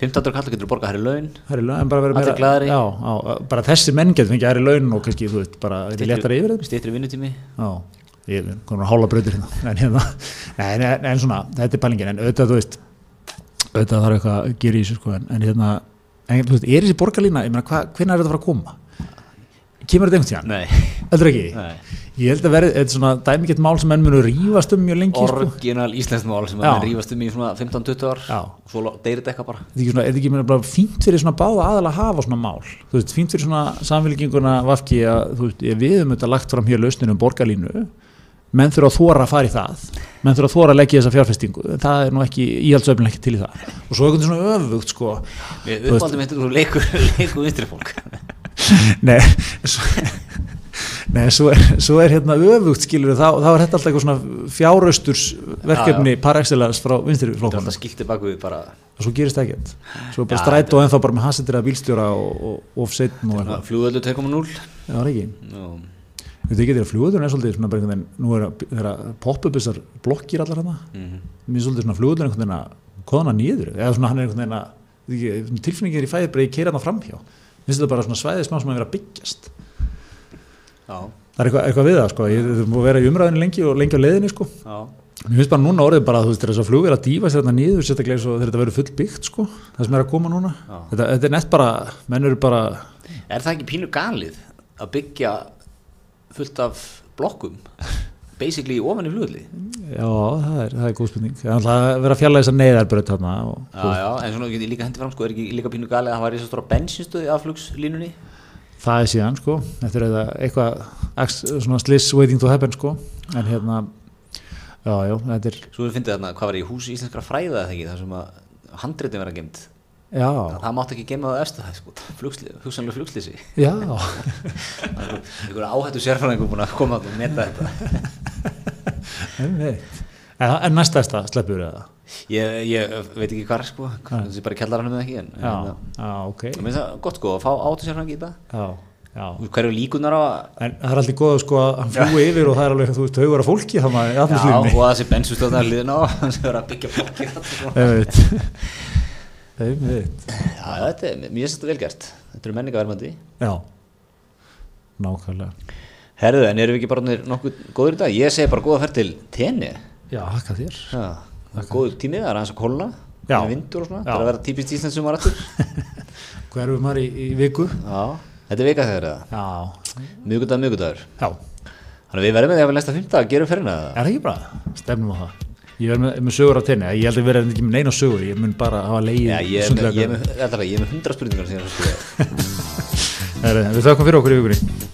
S1: 500 kallar getur borgað hærri laun,
S2: það er laun bara verið
S1: Allir glaðari.
S2: já, á, bara þessi menn getur fengið aðri laun og kannski, þú veit, bara þetta er léttara yfir þeim
S1: stýttri vinnutími.
S2: Já, ég er komin að hála brautir hérna en, hérna, nei, nei, en svona, þetta er pælingin en auðvitað, þú veist auðvitað þarf eitthvað að gera í þessu sko en, en hérna, en, þú veist, er þessi borgarlína ég meina, hva, hvenær er þetta að fara að koma? Kemur þetta einhvern tíðan?
S1: Nei,
S2: Öllur ekki?
S1: nei.
S2: Ég held að verði, þetta er svona dæmigett mál sem menn munu rífast um mjög lengi sko.
S1: Orginal íslenskt mál sem
S2: Já.
S1: að rífast um í svona 15-20 ár,
S2: Já.
S1: svo lo- deyrir þetta eitthvað bara.
S2: Þetta er ekki, svona, er þetta ekki meina, bara fínt fyrir svona báða aðal að hafa svona mál þú veist, fínt fyrir svona samfélkinguna vafki að þú veist, ef við höfum þetta lagt fram hér lausninu um borgarlínu menn þurfa að þóra að fara í það menn þurfa að þóra að leggja í þessa fjárfestingu það er nú ekki íhaldsöfnum ekki til í það og svo einhvern veginn svona öfugt sko
S1: Við
S2: Þú veist-
S1: uppáldum þetta úr leiku, leiku vinstri fólk.
S2: Nei, svo, nei svo, er, svo er hérna öfugt skilur þá, þá er þetta alltaf eitthvað svona fjárausturs verkefni par excellence frá vinstri
S1: Þetta er
S2: flókana
S1: alltaf skilti baku við bara
S2: og svo gerist ekkert svo er bara
S1: Já,
S2: strætó ennþá bara með hasendur eða bílstjóra og, og ofseitn og eitthvað
S1: flugöldu 2.0.
S2: Já, það er ekki.
S1: Nú,
S2: Þetta ekki þegar flugvöldurinn er svolítið svona bara einhvern veginn, nú er að- þegar að poppa upp þessar blokkir allar hana,
S1: mhm.
S2: mér er svolítið svona flugvöldurinn einhvern veginn að koðana nýður, eða svona hann er einhvern veginn að, þetta ekki, svona tilfinningin er í fæði bara ég keira hana framhjá. Mér finnst þetta bara svona svæðið smá sem að vera að byggjast.
S1: Já,
S2: Það er eitthvað, eitthvað við það, sko, ég þetta er búið að vera í umræðinu lengi og lengi á leiðinni, sko.
S1: já.
S2: Mér finnst bara núna orðið bara að þú veist, þegar þessar flugvél að dýfa sér þarna niður, sérstaklega eins og þegar þetta verður fullbyggt, sko, það sem er að koma núna.
S1: Já.
S2: Þetta, þetta er nett bara, menn eru bara,
S1: Er það ekki pínu galið að byggja fullt af blokkum, basically ofan í flugöldi?
S2: já, það er, það er góð spurning. Það er alltaf að vera að fjalla þessar neyðarbröð þarna og,
S1: Já, já, en svona getur ég líka hendi fram, sko, er ekki líka pínu galið að það væri svo stóra bensinstöði af flugslínunni?
S2: það er síðan sko þetta er eitthvað- eitthvað ax- svona sliss waiting to happen sko en hérna já, já, þetta er
S1: Svo við fyndið þarna, hvað var í húsi íslenskra fræða eða ekki, þar sem að handritin vera gemd.
S2: já,
S1: Það mátt ekki gemma það á efstu það, sko, flugsli, hugsanlega flugslýsi.
S2: já
S1: Einhver áhættu sérfræðingur búin að koma og meta þetta.
S2: einmitt. en, það- en næsta eftir sleppur það
S1: Ég, ég veit ekki hvað, sko, það sé bara kjallaranum eða ekki, en, en
S2: já,
S1: hérna,
S2: já, ok
S1: Ég meina það gott sko að fá áttu sérfræðing í þetta.
S2: já, já
S1: Þú veist, Hverju líkunar á að
S2: en það er alltaf góð sko að hann flúi yfir og það er alveg þú veist haugur af fólki þannig að
S1: Já,
S2: atmosfýrni
S1: og að þessi bensustofna er liðin á sem er að byggja blokkir þarna, sko.
S2: einmitt einmitt
S1: Já, þetta er, mér finnst þetta vel gert Þetta eru menningaverðmandi
S2: já nákvæmlega
S1: Herðu, en erum við ekki bara orðnir nokkuð góður í dag? Ég segi bara góða ferð til tenni
S2: já, hakka þér
S1: Já, það er góður tími, það er aðeins að kólna
S2: Já.
S1: það er vindur og svona,
S2: Já.
S1: það er að vera típist íslensk sumar aftur
S2: hvað erum við maður í, í viku
S1: Já, þetta er vika þegar það
S2: já,
S1: Mjögudag, mjögudagur
S2: já
S1: Þannig að við verðum með því að við næsta fymta að gera ferðina það
S2: Er það ekki bara? Stefnum á það. Ég verð með, með sögur á tenni, ég held að vera ekki með neina sögur, ég mun bara hafa leið
S1: Já, ég er með- ég er með- allavega, ég er með hundra spurningar sem ég er að skrifa
S2: Við þökkum fyrir okkur í vikunni.